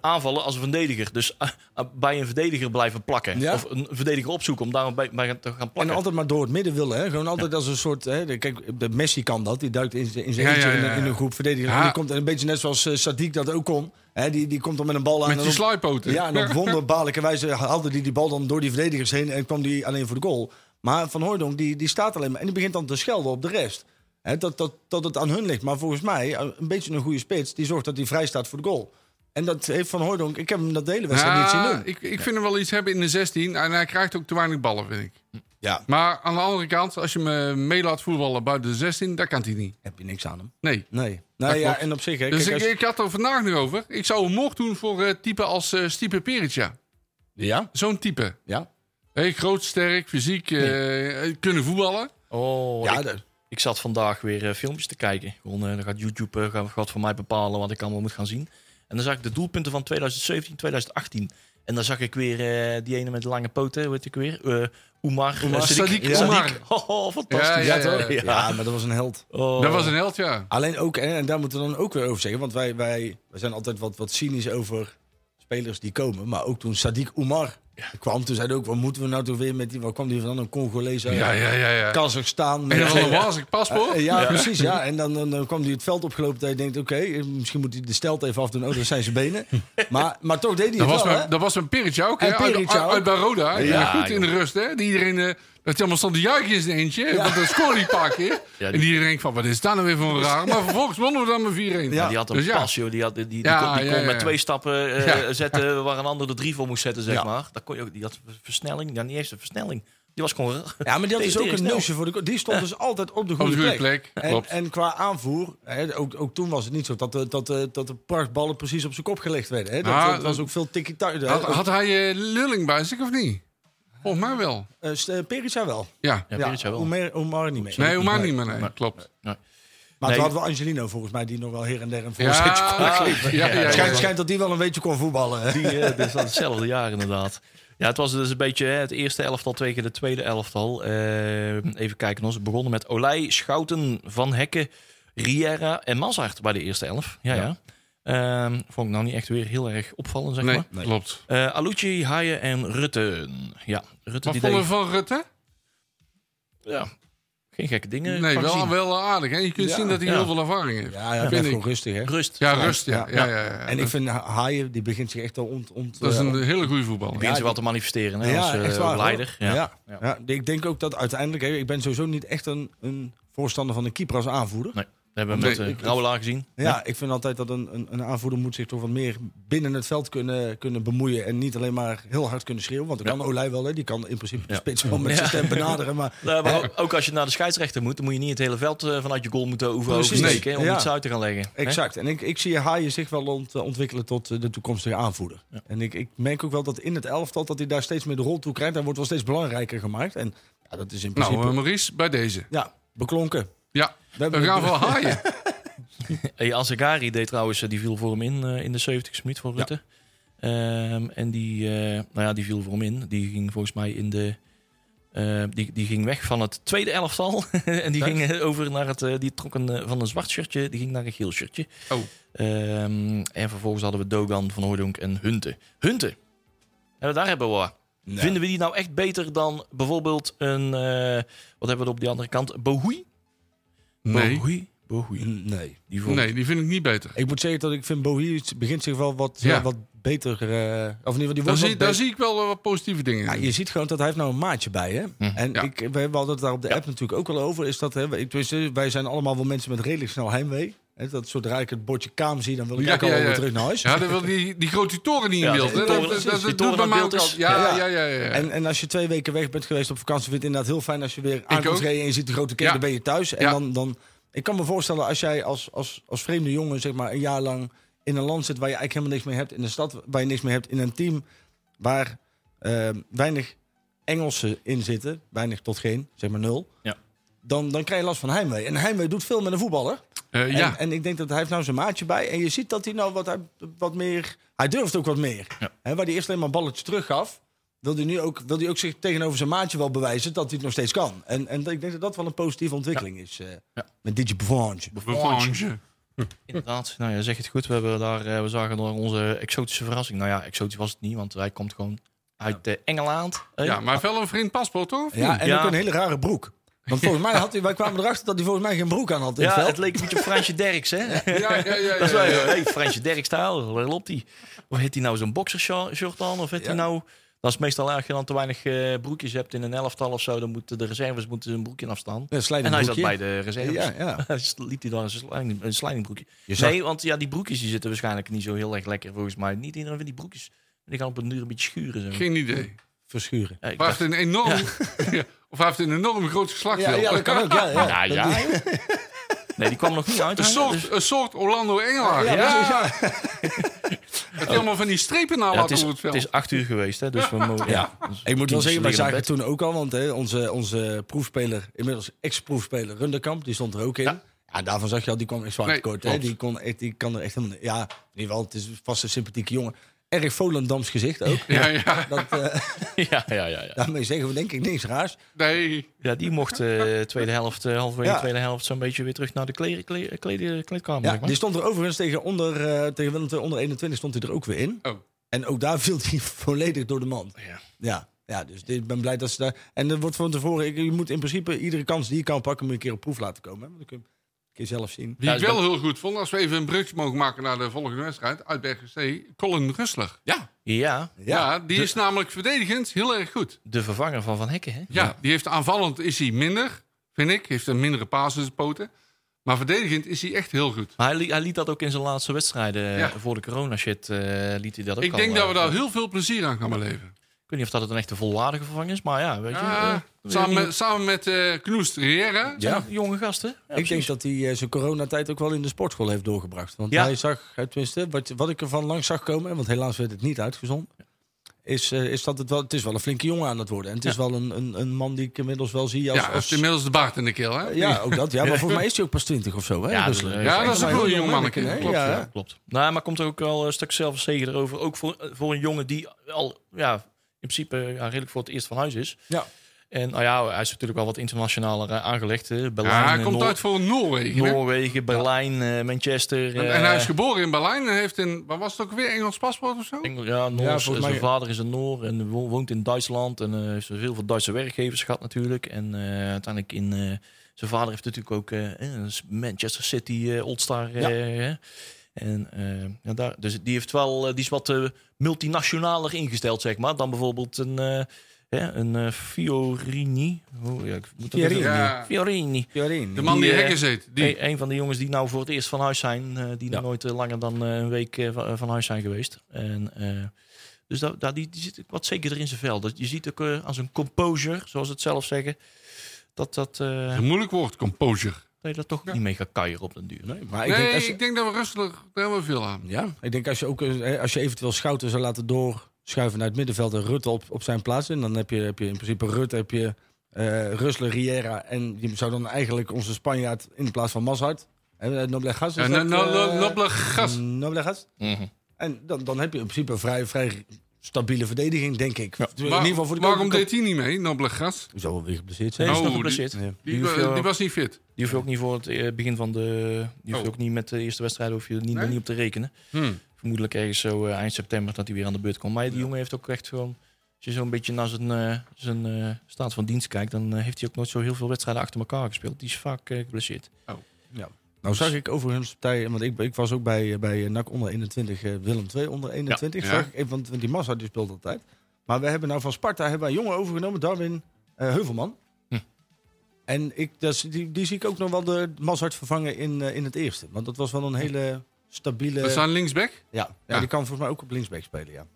C: aanvallen als een verdediger. Dus ah, ah, bij een verdediger blijven plakken.
E: Ja.
C: Of een verdediger opzoeken om daar bij, bij te gaan
E: En
C: plakken.
E: altijd maar door het midden willen. Hè? Gewoon altijd als een soort. Hè, de- kijk, de Messi kan dat. Die duikt in zijn in zijn
D: Ja,
E: eentje
D: ja, ja,
E: in een- in
D: ja.
E: een groep verdedigers.
D: Ja.
E: En die komt en een beetje net zoals eh, Sadiq dat ook kon. Hè? Die, die komt dan met een bal aan.
D: Met
E: en
D: die
E: op-
D: sluipoten.
E: ja, en
D: *laughs*
E: op wonderbaarlijke wijze haalde die die bal dan door die verdedigers heen. En kwam die alleen voor de goal. Maar Van Hooijdonk die, die staat alleen maar. En die begint dan te schelden op de rest. Hè, dat, dat, dat het aan hun ligt. Maar volgens mij, eh, een beetje een goede spits. Die zorgt dat hij vrij staat voor de goal. En dat heeft Van Hooijdonk. Ik heb hem dat de hele wedstrijd niet zien
D: Ja,
E: doen.
D: ik, ik vind hem wel iets hebben in de 16. En hij krijgt ook te weinig ballen, vind ik.
E: Ja.
D: Maar aan de andere kant, als je me mee laat voetballen buiten de 16, dat kan hij niet.
E: Heb je niks aan hem?
D: Nee.
E: Nee. Nou ja,
D: klopt.
E: en op zich. Hè,
D: Dus
E: kijk,
D: ik,
E: als-
D: ik had er vandaag nu over. Ik zou een mocht doen voor eh type als eh Stipe Perica.
E: Ja?
D: Zo'n type.
E: Ja.
D: Hey, groot, sterk, fysiek, eh, eh, kunnen voetballen.
C: Oh,
E: Ja,
C: ik,
E: dat-
C: ik zat vandaag weer eh, filmpjes te kijken. Gewoon, eh, dan gaat YouTube eh, gaat, gaat voor mij bepalen wat ik allemaal moet gaan zien. En dan zag ik de doelpunten van 2017, 2018. En dan zag ik weer eh, die ene met de lange poten, weet ik weer. Eh Oemar. eh,
D: Oemar, Sadiq
C: Ja.
D: Oemar.
C: Sadiq. Oh, *laughs* oh, fantastisch.
D: Ja, ja, ja,
C: toch?
D: ja.
E: Ja, maar dat was een held.
C: Oh.
D: Dat was een held, ja.
E: Alleen ook, en, en daar moeten we dan ook weer over zeggen, want wij, wij, wij zijn altijd wat, wat cynisch over spelers die komen. Maar ook toen Sadiq Oumar kwam toen zeiden ook, wat moeten we nou toch weer met die, wat kwam die van een Congolees uit
D: Ja, ja, ja. ja.
E: Kazachstan.
D: En dan
E: Ja.
D: een wazig paspoort.
E: Eh, ja, precies. Ja. En dan, dan, dan kwam hij het veld opgelopen. Dat je denkt, oké, eh, misschien moet hij de stelt even afdoen. Oh, dat zijn
D: *laughs*
E: zijn benen. Maar, maar toch deed hij
D: Dat
E: het
D: was,
E: wel,
D: mijn,
E: hè?
D: dat was mijn Peritja ook, hè?
E: En
D: uit,
E: Peritja
D: uit,
E: ook.
D: uit bij Roda. Ja,
C: Ja,
D: goed in de
C: joh.
D: rust, hè? Die iedereen, eh, dat hij allemaal stond te juichen in zijn eentje. Want dan scoorde hij een paar
E: *laughs*
D: keer.
C: die-
D: En iedereen denkt van, wat is daar nou weer voor een raar? Maar vervolgens wonnen we dan met 4-1.
E: Ja.
C: die had een
D: Dus ja.
C: pas, joh. Die, had, die, die,
D: Ja,
C: kon, die
D: ja,
C: kon
D: ja, ja.
C: met twee stappen eh,
D: Ja.
C: zetten *laughs* waar een ander er drie voor moest zetten, zeg
E: Ja.
C: maar. Daar kon je ook, die had versnelling. Ja, niet eens een versnelling. Die was gewoon...
E: Ja, maar die had dus
C: Tegen-
E: ook een
C: tegen
E: neusje voor de goal. Die stond dus altijd op de
D: Op
E: goede
D: de goede
E: plek.
D: plek.
E: En,
D: Klopt.
E: en qua aanvoer, hè, ook, ook toen was het niet zo dat de, dat de, dat de prachtballen precies op zijn kop gelegd werden. Hè. Dat,
D: Ah,
E: dat was ook veel tiki-taka.
D: had, had hij eh Lulling bij zich of niet? Volgens mij wel.
E: Eh, St- eh, Perica wel.
D: Ja.
C: Ja, Pirits wel.
E: Omer, Omar niet meer.
D: Nee, Omar niet meer. Nee.
C: Nee.
D: Klopt.
E: Maar
C: Nee.
E: toen hadden we Angelino volgens mij, die nog wel her en der een
D: *laughs* Ja,
E: voorzetje kon
D: ja,
E: geven.
D: ja, ja, ja.
E: Schijnt, schijnt dat die wel een beetje kon voetballen. hè.
C: *laughs* Die, eh, dit is al hetzelfde jaar inderdaad. Ja, het was dus een beetje hè, het eerste elftal tegen de tweede elftal. Eh, even kijken, ons begonnen met Olij, Schouten, Van Hekken, Riera en Mazart bij de eerste elf. Ja, ja. Ehm, vond ik nou niet echt weer heel erg opvallend, zeg
D: Nee,
C: maar.
D: klopt.
C: Eh Alucci, Haaien en Rutten. Ja, Rutten
D: Wat
C: die
D: vonden we
C: deed,
D: van Rutte?
C: ja, geen gekke dingen.
D: Nee,
C: van
D: wel,
C: gezien.
D: wel aardig. Hè? Je kunt
E: Ja.
D: zien dat hij
C: Ja.
D: heel veel ervaring heeft.
E: Ja, ja,
D: Vind
E: vind
D: ik.
E: gewoon rustig, hè?
C: Rust.
D: Ja, rust. Ja.
E: Ja.
D: Ja, ja, ja.
E: En ik vind Ha- Haaien, die begint zich echt al ont... ont
D: dat is
E: eh,
D: een hele goede voetballer.
C: Begint
E: Ja,
C: zich wel te manifesteren hè,
E: Ja,
C: als eh,
E: echt waar, hoor.
C: leider. Ja.
E: Ja. Ja. ik denk ook dat uiteindelijk... hè, Ik ben sowieso niet echt een, een voorstander van een keeper als aanvoerder.
C: Nee, we hebben hem
D: Nee,
C: met eh,
D: ik-
C: Rauwelaar gezien.
E: Ja, ik vind altijd dat een, een, een aanvoerder moet zich toch wat meer binnen het veld kunnen, kunnen bemoeien. En niet alleen maar heel hard kunnen schreeuwen. Want dat
C: Ja.
E: kan Olij wel, hè. Die kan in principe de
C: Ja.
E: spits wel met
C: Ja.
E: zijn stem benaderen.
D: *laughs*
E: Maar
C: Nou, maar ook- ook als je naar de scheidsrechter moet, dan moet je niet het hele veld eh, vanuit je goal moeten over
E: Precies.
C: oversteken hè, om
E: Ja.
C: iets uit te gaan leggen. hè?
E: Exact. En ik, ik zie Haaien zich wel ont- ontwikkelen tot eh, de toekomstige aanvoerder. En ik, ik merk ook wel dat in het elftal dat hij daar steeds meer de rol toe krijgt. Hij wordt wel steeds belangrijker gemaakt. En ja, dat is in
D: Nou,
E: principe...
D: eh, Maurice, bij deze.
E: ja, beklonken.
D: Ja,
E: We hebben
D: we gaan
E: *laughs* de-
D: voor haaien. Oh,
C: Hey, Azegari deed trouwens, eh, die viel voor hem in eh, in de 70ste minuut voor Rutte. Ehm, en die, eh, nou ja, die viel voor hem in. Die ging volgens mij in de. eh, die, die ging weg van het tweede elftal. *laughs* en die ging eh, over naar het. eh, die trok een, eh, van een zwart shirtje. Die ging naar een geel shirtje.
D: Oh.
C: Ehm, en vervolgens hadden we Dogan, Van Hooydonk en Hunte. Hunte! En daar hebben we wat. Vinden we die nou echt beter dan bijvoorbeeld een. eh, wat hebben we op die andere kant? Bohui?
D: Nee,
C: Bohui? Bohui.
E: Nee.
C: Die vond
D: nee, die vind ik niet beter.
E: Ik moet zeggen dat ik vind Bowie begint zich wel wat,
D: Ja.
E: eh, wat beter... eh, of in ieder geval, die
D: Daar
E: wordt
D: zie,
E: wat
D: daar
E: beter.
D: zie ik wel eh, wat positieve dingen
E: Ja,
D: in.
E: je ziet gewoon dat hij heeft nou een maatje bij. Hè? En
D: Hm. Ja.
E: ik, we hebben altijd daar op de app natuurlijk ook al over. Is dat, hè, ik, tenminste, wij zijn allemaal wel mensen met redelijk snel heimwee. Hè, dat zodra ik het bordje kaam zie, dan wil ik
D: Ja,
E: ook al
D: ja,
E: wel weer
D: ja.
E: terug naar huis.
D: Ja, dat wil die, die grote toren niet in
C: Ja,
D: beeld.
C: die
D: hè.
C: toren-
D: Dat- dat-
C: precies,
D: dat
C: die
D: doet
C: toren
D: bij
C: aan
D: mij
C: beeld
D: ook
C: is.
D: al- Ja,
E: Ja.
D: ja, ja, ja. ja.
E: En, en als je twee weken weg bent geweest op vakantie, vind ik het inderdaad heel fijn als je weer
D: ook.
E: aankomt rijden en je ziet de grote kerk,
D: Ja.
E: dan ben je thuis. En
D: Ja.
E: dan, dan, ik kan me voorstellen, als jij als, als, als vreemde jongen zeg maar, een jaar lang in een land zit waar je eigenlijk helemaal niks mee hebt, in een stad waar je niks mee hebt, in een team waar eh, weinig Engelsen in zitten, weinig tot geen, zeg maar nul.
C: Ja.
E: Dan, dan krijg je last van heimwee. En heimwee doet veel met een voetballer.
D: Eh,
E: En,
D: ja.
E: en ik denk dat hij heeft nou zijn maatje bij. En je ziet dat hij nou wat, hij- wat meer... Hij durft ook wat meer.
C: Ja.
E: Hè, waar hij eerst alleen maar balletjes teruggaf... wil hij nu ook, wil hij ook zich tegenover zijn maatje wel bewijzen... dat hij het nog steeds kan. En, en ik denk dat dat wel een positieve ontwikkeling is. eh,
C: Ja.
E: Met Digi Bevange.
D: Bevange.
C: Inderdaad, nou ja, zeg het goed. We, hebben daar, eh, we zagen daar onze exotische verrassing. Nou ja, exotisch was het niet, want hij komt gewoon uit eh, Engeland. hè?
D: Ja, maar wel een vreemd paspoort, toch? Of
E: Ja,
D: niet?
E: en
C: Ja.
E: ook een hele rare broek. Want volgens mij had hij... Wij kwamen erachter dat hij volgens mij geen broek aan had in
C: Ja,
E: het veld.
C: het leek een beetje op Fransje Derks, hè? *laughs*
D: ja, ja, ja.
C: Dat is
D: ja,
C: wel
D: ja.
C: heel- Eh, hey, Fransje Derks taal, waar loopt hij? Of heeft hij nou zo'n boxershirt aan? Of heeft hij
E: Ja.
C: nou... Dat is meestal als je dan te weinig eh, broekjes hebt in een elftal of zo. Dan moeten de reserves moeten hun broekje afstaan.
E: Ja, slijt
C: en
E: een
C: hij zat
E: broekje.
C: bij de reserves.
E: Ja, ja.
C: Hij liep hij *laughs* dan in zijn sliding- een slidingbroekje.
E: Je zag-
C: Nee, want ja, die broekjes die zitten waarschijnlijk niet zo heel erg lekker volgens mij. Niet iedereen vindt die broekjes. Die gaan op een duur een beetje schuren. Zo.
D: Geen idee.
E: Verschuren.
C: Ja, ik
D: Maar hij
C: dacht-
D: heeft een enorm... *laughs* Ja, Of hij heeft een enorm groot
E: Ja,
D: geslachtsdeel.
E: ja, dat kan ook. Ja,
C: Ja,
E: ja.
C: ja. Nee, die kwam nog niet uit. Dus-
D: Een soort, een soort Orlando Engelaar. Ja,
E: Ah, dus- Ja, precies, ja.
D: Het is allemaal van die strepen na
C: Ja, het,
D: laten
C: is,
D: over het
C: het
D: veld.
C: is acht uur geweest, hè, dus
E: *laughs*
C: we mogen...
E: Ja.
C: dus
E: Ik moet wel
C: die
E: zeggen,
C: liggen
E: wij
C: op
E: zagen het
C: bed.
E: toen ook al, want hè, onze, onze proefspeler, inmiddels ex-proefspeler Runderkamp, die stond er ook in. Ja. daarvan zag je al, die kwam echt zwaar
D: Nee,
E: tekort. Hè?
D: klopt.
E: Die, kon echt, die kan er echt helemaal... Ja, in ieder geval, het is vast een sympathieke jongen. Erg Volendams gezicht ook.
D: Ja, ja.
E: Dat, eh, *laughs*
C: *laughs* Ja, ja, ja, ja.
E: daarmee zeggen we denk ik niks raars.
D: Nee.
C: ja, die mocht eh tweede helft, eh, halverwege
E: Ja.
C: tweede helft, zo'n beetje weer terug naar de kleren, kleren, kleden- kleedkamer.
D: dus-
E: Ja,
C: zeg maar.
E: die stond er overigens tegen onder, eh tegen Willem II onder 21 stond hij er ook weer in.
D: Oh.
E: En ook daar viel hij *laughs* volledig door de mand.
C: Ja.
E: Ja, ja dus ik ben blij dat ze daar... En er wordt van tevoren... ik- Je moet in principe iedere kans die je kan pakken... moet je een keer op proef laten komen. Hè? Want dan kun je hem een keer zelf zien.
D: Die
C: Ja,
D: ik
C: dus
D: wel heel goed vond, als we even een brugje mogen maken naar de volgende wedstrijd, uit C, Colin Russler.
C: Ja. Ja,
D: Ja, die is namelijk verdedigend heel erg goed.
C: de vervanger van Van Hekken, hè?
D: Ja, die heeft aanvallend is hij minder, vind ik. Heeft een mindere paas in zijn poten. Maar verdedigend is hij echt heel goed.
C: Maar hij, li- hij liet dat ook in zijn laatste wedstrijden eh,
D: Ja.
C: voor de corona-shit. eh, liet hij dat ook
D: Ik
C: al,
D: denk dat we
C: eh,
D: daar heel veel plezier aan gaan beleven.
C: Ik weet niet of dat het een echte volwaardige vervanger is, maar ja, weet je.
D: Ja,
C: eh, weet
D: samen,
C: je niet.
D: met- samen met eh Knoest Riera.
C: Het zijn nog jonge gasten. Ja,
E: ik
C: precies.
E: denk dat hij eh, zijn coronatijd ook wel in de sportschool heeft doorgebracht. Want
C: Ja.
E: hij zag, eh, tenminste, wat, wat ik ervan langs zag komen... want helaas werd het niet uitgezonden... Is, eh, is dat het wel... Het is wel een flinke jongen aan het worden. En het is wel een, een, een man die ik inmiddels wel zie als...
D: Ja, heeft
E: als
D: inmiddels de baard in de keel. Hè?
E: ja, ook dat. Ja, maar volgens mij is hij ook pas 20 of zo. Hè?
C: Ja,
E: Dus,
C: dat-
E: eh,
C: ja,
D: dat is een goede jong manneke,
E: hè?
D: klopt,
E: Ja,
D: ja.
E: hè?
C: Klopt. Nou, maar komt er ook wel een stuk zelfverzekerd erover. Ook voor, eh, voor een jongen die al ja, in principe ja, redelijk voor het eerst van huis is.
E: Ja.
C: En nou ja, hij is natuurlijk wel wat internationaler eh, aangelegd. hè. Berlijn,
D: Ja, hij
C: eh,
D: komt
C: Noor-
D: uit voor Noorwegen. hè?
C: Noorwegen, Berlijn, eh, Manchester.
D: En,
C: eh,
D: en hij is geboren in Berlijn en heeft een, wat was het ook weer, Engels paspoort of zo?
C: Engel- ja, Noors, eh,
E: Ja, volgens
C: zijn
E: mij-
C: vader is een Noor en wo- woont in Duitsland. En eh, heeft heel veel Duitse werkgevers gehad natuurlijk. En eh, uiteindelijk in... eh, zijn vader heeft natuurlijk ook eh, eh, Manchester City eh All-Star. eh,
E: Ja.
C: hè. en eh, ja, daar, dus die, heeft wel, eh, die is wat eh, multinationaler ingesteld, zeg maar. Dan bijvoorbeeld een, eh, hè, een eh, Fiorini. Oh, ja, ik moet dat even-
E: Fiorini.
D: Ja.
C: Fiorini.
E: Fiorini.
D: De man die,
C: Die, eh,
D: hekken zit. Die,
C: Hey, een van de jongens die nou voor het eerst van huis zijn, eh, die
E: Ja.
C: nooit eh, langer dan eh, een week eh, van, van huis zijn geweest. En, eh, dus daar daar- die, die zit ook wat zeker in zijn vel. Dat, je ziet ook eh, aan zijn composure, zoals ze het zelf zeggen, dat dat, eh,
D: Een moeilijk woord, composure.
C: dat je dat toch niet mee gaat kuieren op den duur. Mhm.
E: Nee, maar ik
D: nee,
E: denk als je,
D: ik denk dat we rustig daar hebben we veel aan.
E: ja, ik denk als je ook eh, als je eventueel Schouten zou laten doorschuiven naar het middenveld en Rutte op, op zijn plaats en dan heb je, heb je in principe Rutte, heb je eh Rusler, Riera en je zou dan eigenlijk onze Spanjaard in de plaats van Mazhart en eh, Noblegas. is
D: En
E: dat,
D: nou, nou,
E: eh,
D: nou, nou, nou, gas.
E: Noblegas. En dan, dan heb je in principe een vrij, vrij stabiele verdediging, denk ik. In ieder
D: Waar-
E: geval voor de
D: waarom
E: komende-
D: deed hij niet mee, Nobele gas?
E: Zou wel weer geblesseerd
C: Nee,
E: zijn.
C: is
D: Oh,
C: nog
D: die-
C: geblesseerd. Die,
E: Ja.
D: Die,
C: hoef je,
D: wa- die was niet fit.
C: die hoef je ook niet voor het eh, begin van de... Die hoef je
D: Oh.
C: ook niet met de eerste wedstrijd hoef je er niet,
D: Nee?
C: niet op te rekenen. Vermoedelijk ergens zo eh, eind september dat hij weer aan de beurt komt. Maar die jongen heeft ook echt gewoon... Als je zo'n beetje naar zijn, eh, zijn eh, staat van dienst kijkt... dan eh, heeft hij ook nooit zo heel veel wedstrijden achter elkaar gespeeld. Die is vaak eh, geblesseerd.
E: Nou
D: Dus-
E: zag ik overigens partijen, want ik, ik was ook bij, eh, bij eh, NAC onder 21, eh, Willem 2 onder 21.
D: Ja.
E: Zag ik, want want die Massa die speelt altijd. Maar we hebben nou van Sparta hebben wij een jongen overgenomen, Darwin eh, Heuvelman.
C: Hm.
E: En ik, dat is- die, die zie ik ook nog wel de Mazart vervangen in, eh, in het eerste. Want dat was wel een hele stabiele...
D: Dat is aan linksback.
E: ja, ja,
D: Ja.
E: die kan volgens mij ook op linksback spelen, ja.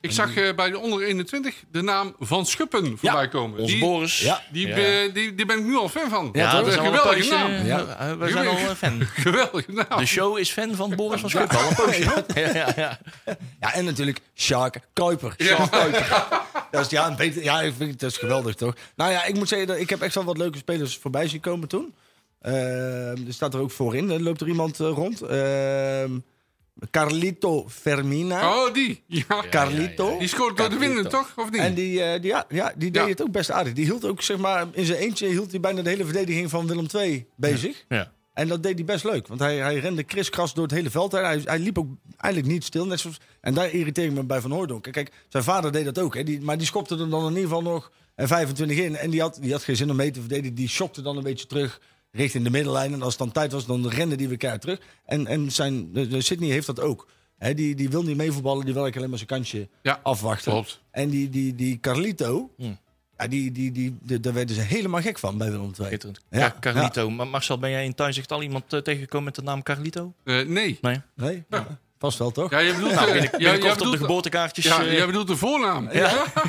D: Ik zag eh, bij de onder 21 de naam Van Schuppen voorbij komen.
C: Onze
D: Die,
C: Boris.
E: ja,
D: die,
C: Ja.
D: eh, die, die ben ik nu al fan van.
E: Ja,
D: dat
E: we
D: is een
C: zijn wel een
D: geweldige
C: poosje-
D: naam. *laughs*
E: naam.
C: Ja, eh, we zijn al
D: Jullie-
C: eh, fan.
D: Geweldige naam.
C: De show is fan van Boris van Schut. Al een poosje. *laughs* Ja, ja, ja.
E: Ja, en natuurlijk Sjaak Kuiper. Sjaak Kuiper. *laughs* Dat is, ja, een beter, ja, ik vind, dat is geweldig, toch? Nou ja, ik moet zeggen, dat ik heb echt wel wat leuke spelers voorbij zien komen toen. Ehm, er staat er ook voorin, hè, loopt er iemand eh, rond. Ehm, Carlito Fermina.
D: Oh, die. Ja.
E: Carlito.
D: Die scoort door de winnen,
C: Carlito.
D: toch? Of niet?
E: En die, eh, die, ja, ja, die deed
D: Ja.
E: het ook best aardig. Die hield ook, zeg maar, in zijn eentje hield hij bijna de hele verdediging van Willem II bezig.
C: Ja.
E: En dat deed hij best leuk. Want hij, hij rende kriskras door het hele veld. En hij, hij liep ook eigenlijk niet stil. Net zoals, en daar irriteer ik me bij Van Hooydonk. Kijk, zijn vader deed dat ook. Hè. Die, maar die schopte er dan in ieder geval nog eh, 25 in. En die had, die had geen zin om mee te verdedigen. Die shopte dan een beetje terug richting de middenlijn. En als het dan tijd was, dan rende die weer keihard terug. En, en zijn, de- de Sydney heeft dat ook. Hè, die, die wil niet meevoetballen. Die wil eigenlijk alleen maar zijn kansje
D: Ja,
E: afwachten.
D: klopt. Hmm.
E: En die, die, die Carlito... Ja, die, die, die, die- daar werden ze helemaal gek van bij Willem II.
C: Schitterend.
E: Ja,
C: Car- Carlito. Maar Marcel, ben jij in Tuinzicht al iemand eh, tegengekomen met de naam Carlito?
D: Eh, nee.
E: Nou,
C: Nee.
E: Nee? Ja, Vast wel, toch?
D: Ja, je bedoelt, eh,
C: Binnen,
D: ja, jij
C: binnenkort op de
D: bedoelt,
C: geboortekaartjes.
D: ja,
C: eh,
D: jij bedoelt de voornaam.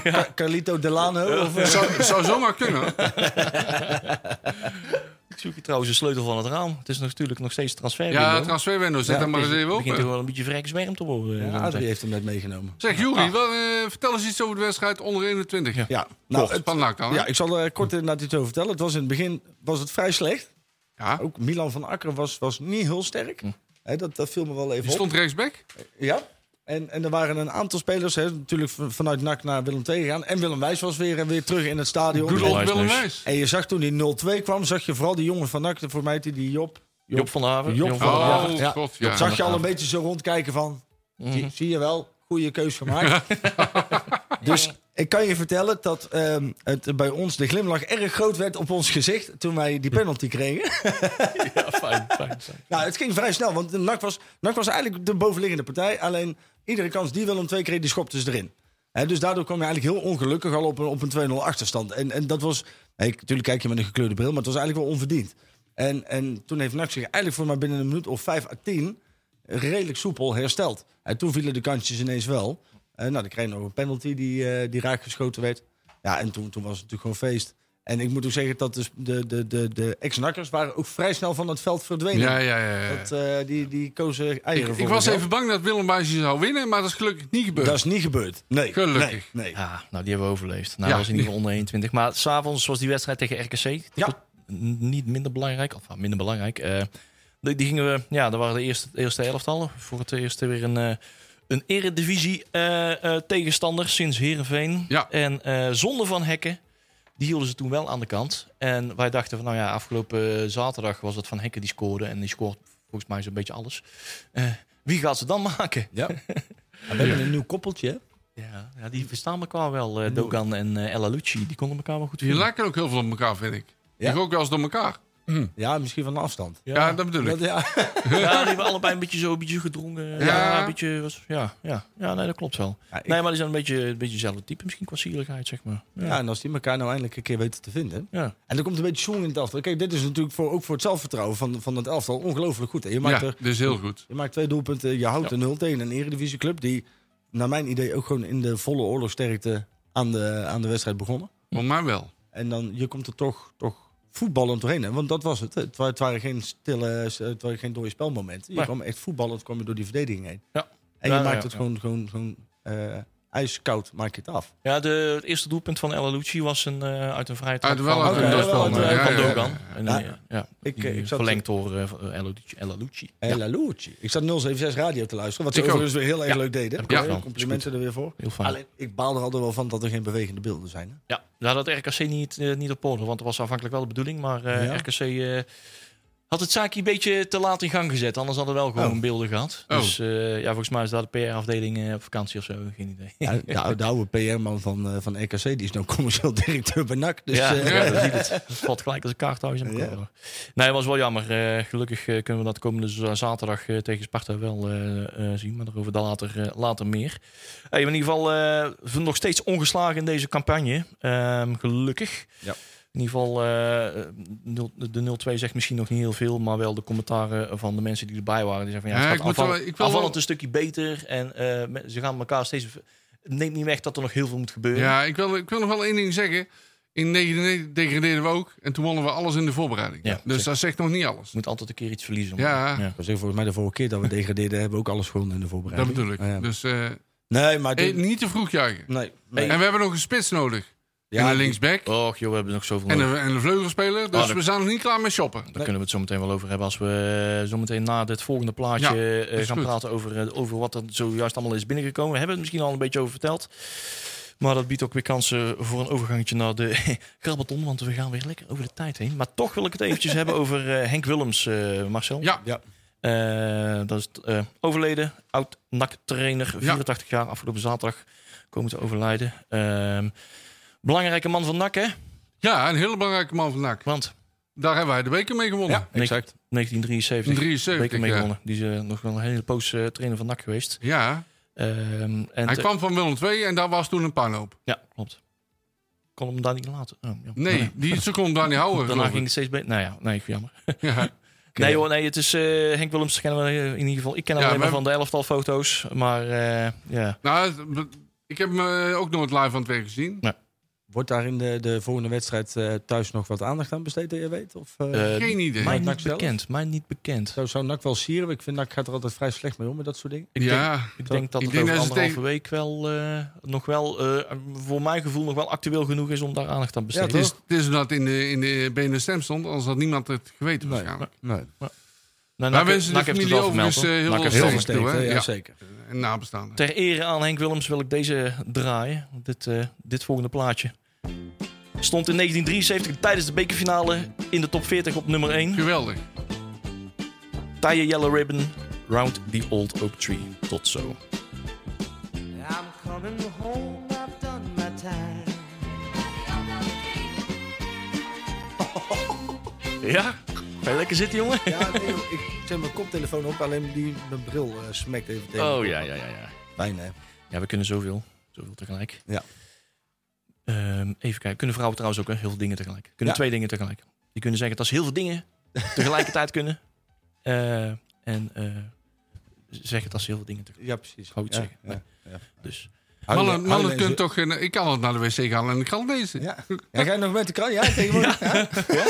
E: Ca- Carlito Delano? Of, eh,
D: Zou, zou zomaar kunnen. hoor.
C: Ik zoek je trouwens de sleutel van het raam. Het is natuurlijk nog steeds transfer.
D: Ja,
C: window.
D: transferwindow, zet
E: Ja,
D: daar maar eens
C: Het
D: even op. eh.
C: begint toch wel een beetje vrijgezwermd te worden. eh,
E: ja,
C: zo
E: Adrie
C: meteen.
E: heeft hem net meegenomen.
D: Zeg, Juri, wel, eh, vertel eens iets over de wedstrijd onder 21. Ja.
E: Ah. Ja, nou, het-
D: Van Naak dan. hè?
E: ja ik zal er kort inderdaad iets over vertellen. Het was in het begin was het vrij slecht.
D: Ja.
E: Ook Milan van Akker was, was niet heel sterk. Hè, dat, dat viel me wel even
D: Hm. Die
E: op.
D: stond rechtsback.
E: Ja. En, en er waren een aantal spelers, hè, natuurlijk v- vanuit NAC naar Willem II gegaan. En Willem Wijs was weer, eh, weer terug in het stadion.
D: Good old
C: Wijs,
D: Willem
C: Wijs.
D: Wijs.
E: En je zag toen die 0-2 kwam, zag je vooral die jongen van NAC, voor mij die, die Job.
C: Job van der Haven.
E: Job
C: Job
E: van der
C: der
E: Haven.
D: Oh,
E: Ja.
D: god, ja. Mhm.
E: Zag je al een beetje zo rondkijken van, zie, zie je wel, goede keus
D: *laughs*
E: gemaakt. dus ik kan je vertellen dat ehm, het bij ons de glimlach erg groot werd op ons gezicht toen wij die penalty kregen.
C: Ja, fijn, fijn, fijn.
E: nou, het ging vrij snel, want de NAC was, NAC was eigenlijk de bovenliggende partij. Alleen iedere kans die Willem twee kreeg, die schopte ze erin. Hè, dus daardoor kwam je eigenlijk heel ongelukkig al op een, op een 2-0 achterstand. En, en dat was, hey, natuurlijk kijk je met een gekleurde bril, maar het was eigenlijk wel onverdiend. En, en toen heeft NAC zich eigenlijk voor mij binnen een minuut of 5 à 10 redelijk soepel hersteld. En toen vielen de kansjes ineens wel. Eh, nou, dan kreeg je nog een penalty die, eh, die raakgeschoten werd. Ja, en toen, toen was het natuurlijk gewoon feest. En ik moet ook zeggen dat dus de, de, de, de ex-nakkers waren ook vrij snel van het veld verdwenen.
D: Ja, ja, ja. ja.
E: Dat, eh, die, die kozen eieren
D: ik,
E: voor
D: ik was
E: zichzelf.
D: even bang dat Willem Buijsje zou winnen, maar dat is gelukkig niet gebeurd.
E: Dat is niet gebeurd. Nee.
D: Gelukkig.
E: Nee. nee.
C: Ja, nou die hebben we overleefd. Nou
D: Ja.
C: was in ieder geval onder 21. Maar s'avonds was die wedstrijd tegen RKC.
E: Ja.
C: N- Niet minder belangrijk, of nou, minder belangrijk. Eh, die, die gingen we, ja, dat waren de eerste, eerste elftallen. Voor het eerst weer een, eh, een eredivisie eh, eh, tegenstander sinds Heerenveen.
D: Ja.
C: En eh, zonder Van Hekken, die hielden ze toen wel aan de kant. En wij dachten van, nou ja, afgelopen zaterdag was dat Van Hekken die scoorde. En die scoort volgens mij zo'n beetje alles. Eh, wie gaat ze dan *laughs* maken?
E: Ja. *laughs* We hebben een nieuw koppeltje. hè?
C: Ja, ja, die verstaan elkaar wel. eh, Dogan en eh Ella Lucci, die konden elkaar wel goed
D: Die
C: vinden.
D: lijken ook heel veel op elkaar, vind ik.
E: Ja.
D: Ik ook wel eens door elkaar.
E: Ja, misschien van de afstand.
D: Ja, dat bedoel ik.
E: Dat, ja.
C: Ja, die hebben allebei een beetje zo, een beetje gedrongen.
D: Ja.
C: Ja, een beetje, was, ja, ja. ja nee, dat klopt wel.
E: Ja, ik-
C: Nee, maar die zijn een beetje, een beetje hetzelfde type misschien qua sierlijkheid, zeg maar. Ja.
E: Ja,
C: Ja.
E: en als die elkaar nou eindelijk een keer weten te vinden. En er komt een beetje schoen in het elftal. Kijk, dit is natuurlijk voor, ook voor het zelfvertrouwen van, van het elftal ongelooflijk goed. hè. Je
D: Ja,
E: maakt, er,
D: dat is heel goed.
E: je maakt twee doelpunten, je houdt
C: Ja.
E: een nul tegen een eredivisieclub... die naar mijn idee ook gewoon in de volle oorlogsterkte aan de, aan de wedstrijd begonnen.
D: Voor mij wel.
E: En dan, je komt er toch, toch voetballend doorheen. Hè? Want dat was het. Het, wa- het waren geen stille, eh, het waren geen dode spelmomenten. Je
C: Nee.
E: kwam echt voetballend kwam je door die verdediging heen.
C: Ja.
E: En je
C: Ja, ja,
E: maakt
C: ja,
E: het
C: ja.
E: gewoon, gewoon, gewoon eh, ijskoud, maak je het af.
C: Ja, de, het eerste doelpunt van Ella Lucci was een, eh, uit een vrije trap
D: Uit wel
C: van,
D: uit een
C: eh,
E: doelspel,
C: van,
E: maar-
C: eh,
E: ja,
C: van
E: ja, ja.
C: Dogan. En,
E: Ja.
C: eh, ja,
E: Ik, eh,
C: Die
E: ik zat-
C: verlengd door eh, van, eh, Ella Lucci. Ella Lucci.
E: En La Lucci. Ik zat 076 Radio te luisteren, wat ze
D: Ik ook.
E: overigens weer heel erg
C: Ja.
E: leuk deden.
C: Heb ik ook
E: Ja,
C: wel.
E: complimenten er weer voor.
C: Heel fijn.
E: Alleen, ik baal er altijd wel van dat er geen bewegende beelden zijn. Hè?
C: Ja, daar had RKC niet, eh, niet op orde, want dat was aanvankelijk wel de bedoeling. Maar eh,
E: Ja.
C: RKC eh, had het zaakje een beetje te laat in gang gezet. Anders hadden we wel gewoon
E: Oh.
C: beelden gehad.
D: Oh.
C: Dus eh, ja, volgens mij is daar de PR-afdeling eh, op vakantie of zo. Geen idee. Ja,
E: Ja, de, oude- de oude PR-man van, eh, van EKC, die is nou commercieel *laughs* directeur bij NAC. Dus,
C: ja,
E: eh,
C: dat ziet het. Het valt gelijk als een kaart thuis in elkaar.
E: Ja.
C: Nee, dat was wel jammer. Eh, gelukkig eh, kunnen we dat komende z- zaterdag eh, tegen Sparta wel eh, eh, zien. Maar daarover dan later, eh, later meer. Hey, in ieder geval eh, we nog steeds ongeslagen in deze campagne. Ehm, gelukkig.
E: Ja.
C: In ieder geval, eh, nul- de 0-2 zegt misschien nog niet heel veel, maar wel de commentaren van de mensen die erbij waren. Die zeggen van ja,
D: Ja,
C: het
D: ik
C: gaat
D: moet wel-
C: aanvallend,
D: ik wil wel-
C: aanvallend een stukje beter. En eh, me- ze gaan elkaar steeds... Neemt niet weg dat er nog heel veel moet gebeuren.
D: Ja, ik wil, ik wil nog wel één ding zeggen. In 99 degradeerden we ook en toen wonnen we alles in de voorbereiding.
C: Ja,
D: dus
C: zeker.
D: dat zegt nog niet alles.
C: Je moet altijd een keer iets verliezen. om-
D: Ja,
E: dat was ook volgens mij de vorige keer dat we degradeerden, hebben we ook alles gewoon in de
D: dat
E: voorbereiding.
D: bedoel ik.
E: Ah, ja.
D: Dus eh,
E: Nee, maar...
D: eh,
E: dit-
D: niet te vroeg juichen.
E: nee, nee.
D: En we hebben nog een spits nodig.
E: Ja,
D: en een
E: die-
D: linksback
C: Och joh, we hebben nog zoveel
D: en, eh,
C: nodig.
D: een, en een vleugelspeler. Dus
C: Ah, dat-
D: we zijn nog niet klaar met shoppen.
C: Daar kunnen we het zo meteen wel over hebben als we eh, zo meteen na dit volgende plaatje
D: Ja,
C: eh,
D: is
C: gaan
D: goed.
C: praten over, eh, over wat er zojuist allemaal is binnengekomen. We hebben het misschien al een beetje over verteld. Maar dat biedt ook weer kansen voor een overgangetje naar de *laughs* grabaton, want we gaan weer lekker over de tijd heen. Maar toch wil ik het eventjes
D: *laughs*
C: hebben over eh, Henk Willems, eh, Marcel.
D: Ja,
E: Ja,
C: Eh, dat is eh, overleden, oud NAC-trainer,
D: Ja.
C: 84 jaar, afgelopen zaterdag komen te overlijden. Ehm, belangrijke man van NAC, hè?
D: ja, een hele belangrijke man van NAC.
C: Want
D: Daar hebben wij de beker mee gewonnen.
E: exact.
C: 1973. beker
D: 73.
C: mee
D: Ja.
C: gewonnen. Die is eh, nog wel een hele poos eh, trainer van NAC geweest.
D: ja,
C: Ehm, en
D: hij
C: te-
D: kwam van Willem II en daar was toen een puinhoop.
C: Ja, klopt. Kon hem daar niet laten. Oh, ja.
D: Nee, die seconde daar niet
C: *laughs*
D: houden.
C: Daarna
D: geloof
C: ging
D: ik.
C: het steeds beter. Nou ja, nee, jammer.
D: Ja.
C: Nee hoor, nee, het is eh, Henk Willems kennen we eh, in ieder geval. Ik ken hem
D: Ja,
C: alleen maar
D: maar-
C: van de elftal foto's. Maar eh, ja,
D: Nou, het- ik heb hem eh, ook nooit live aan het werk gezien.
E: Wordt daar in de, de volgende wedstrijd eh, thuis nog wat aandacht aan besteed, dat je weet? Of, eh,
C: Eh,
D: Geen idee.
C: mij
E: Van NAC
C: niet
E: zelf?
C: bekend. Mij niet bekend.
E: Zou, zou NAC wel sieren? Ik vind NAC gaat er altijd vrij slecht mee om met dat soort dingen.
C: Ik, denk,
D: ja,
C: ik denk dat
D: Ik
C: het
D: denk
C: over
D: dat ze
C: anderhalve
D: tegen-
C: week wel eh, nog wel, eh, voor mijn gevoel, nog wel actueel genoeg is om daar aandacht aan te
E: Ja,
C: besteden.
D: het is, het is omdat in de, in de benen stem stond, anders had niemand het geweten waarschijnlijk.
E: Nee.
C: Nou,
D: Maar
C: NAC-
D: wensen de
C: NAC heeft het
D: familie
C: wel vermeld,
D: overigens,
C: hoor.
D: eh, heel
C: NAC heeft
D: veel
C: het
E: Heel
C: wel
D: sterkte.
E: versterkt, hè?
D: hè? Ja.
E: ja, zeker.
D: En nabestaanden.
C: Ter ere aan Henk Willems wil ik deze draaien. Dit, eh, dit volgende plaatje. Stond in 1973 tijdens de bekerfinale in de top 40 op nummer 1.
D: Geweldig.
C: Taaie Yellow Ribbon, Round the Old Oak Tree. Tot zo.
A: down and home, I've done my time.
C: Ja? Ga je lekker zitten, jongen?
E: Ja, nee, joh, ik zet mijn koptelefoon op, alleen die, mijn bril eh, smekt even tegen.
C: Oh ja, ja, ja, ja.
E: Fijn, hè?
C: Ja, we kunnen zoveel. Zoveel tegelijk.
E: Ja.
C: Ehm, even kijken. Kunnen vrouwen trouwens ook hè? heel veel dingen tegelijk. Kunnen
E: Ja.
C: twee dingen tegelijk. Die kunnen zeggen dat ze heel veel
E: *laughs*
C: dingen tegelijkertijd kunnen. Eh, en eh, zeggen dat ze heel veel dingen tegelijk
E: Ja, precies.
C: Wou ik
E: Ja,
C: zeggen.
E: ja.
C: Dus
D: Mannen,
E: Huilen-
D: mannen
E: huilen
D: kunnen
E: ze-
D: toch... eh, ik kan wel naar de wc gaan en ik kan lezen.
E: Ja. ja, ga je nog met de krant? Ja, tegenwoordig. Ja, ja?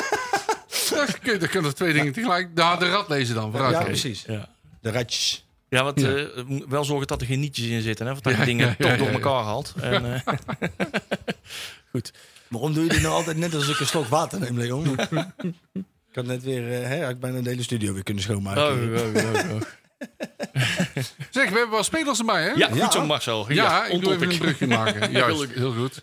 D: Dat kun je- dat kunnen twee dingen tegelijk. Daar de rat lezen dan. Vooruit.
E: precies.
C: ja.
E: De ratjes.
C: Ja, want
D: Ja.
C: eh, moet wel zorgen dat er geen nietjes in zitten. Hè? Want dat je
D: Ja,
C: dingen
D: ja, ja,
C: toch
D: ja,
C: door
D: ja.
C: elkaar
D: *laughs*
C: haalt. En, eh,
E: Waarom doe je dit nou altijd net als ik een slok water neem, Leon? ik had net weer, eh, hè, had ik bijna de hele studio weer kunnen
D: Ah,
E: schoonmaken.
C: oh, oh, oh, oh.
D: Zeg, we hebben wel spelers erbij, hè?
C: Ja,
E: Ja.
C: goed zo Marcel.
D: Ja, ik doe
C: ontdot
D: even een brugje maken. Juist, heel goed.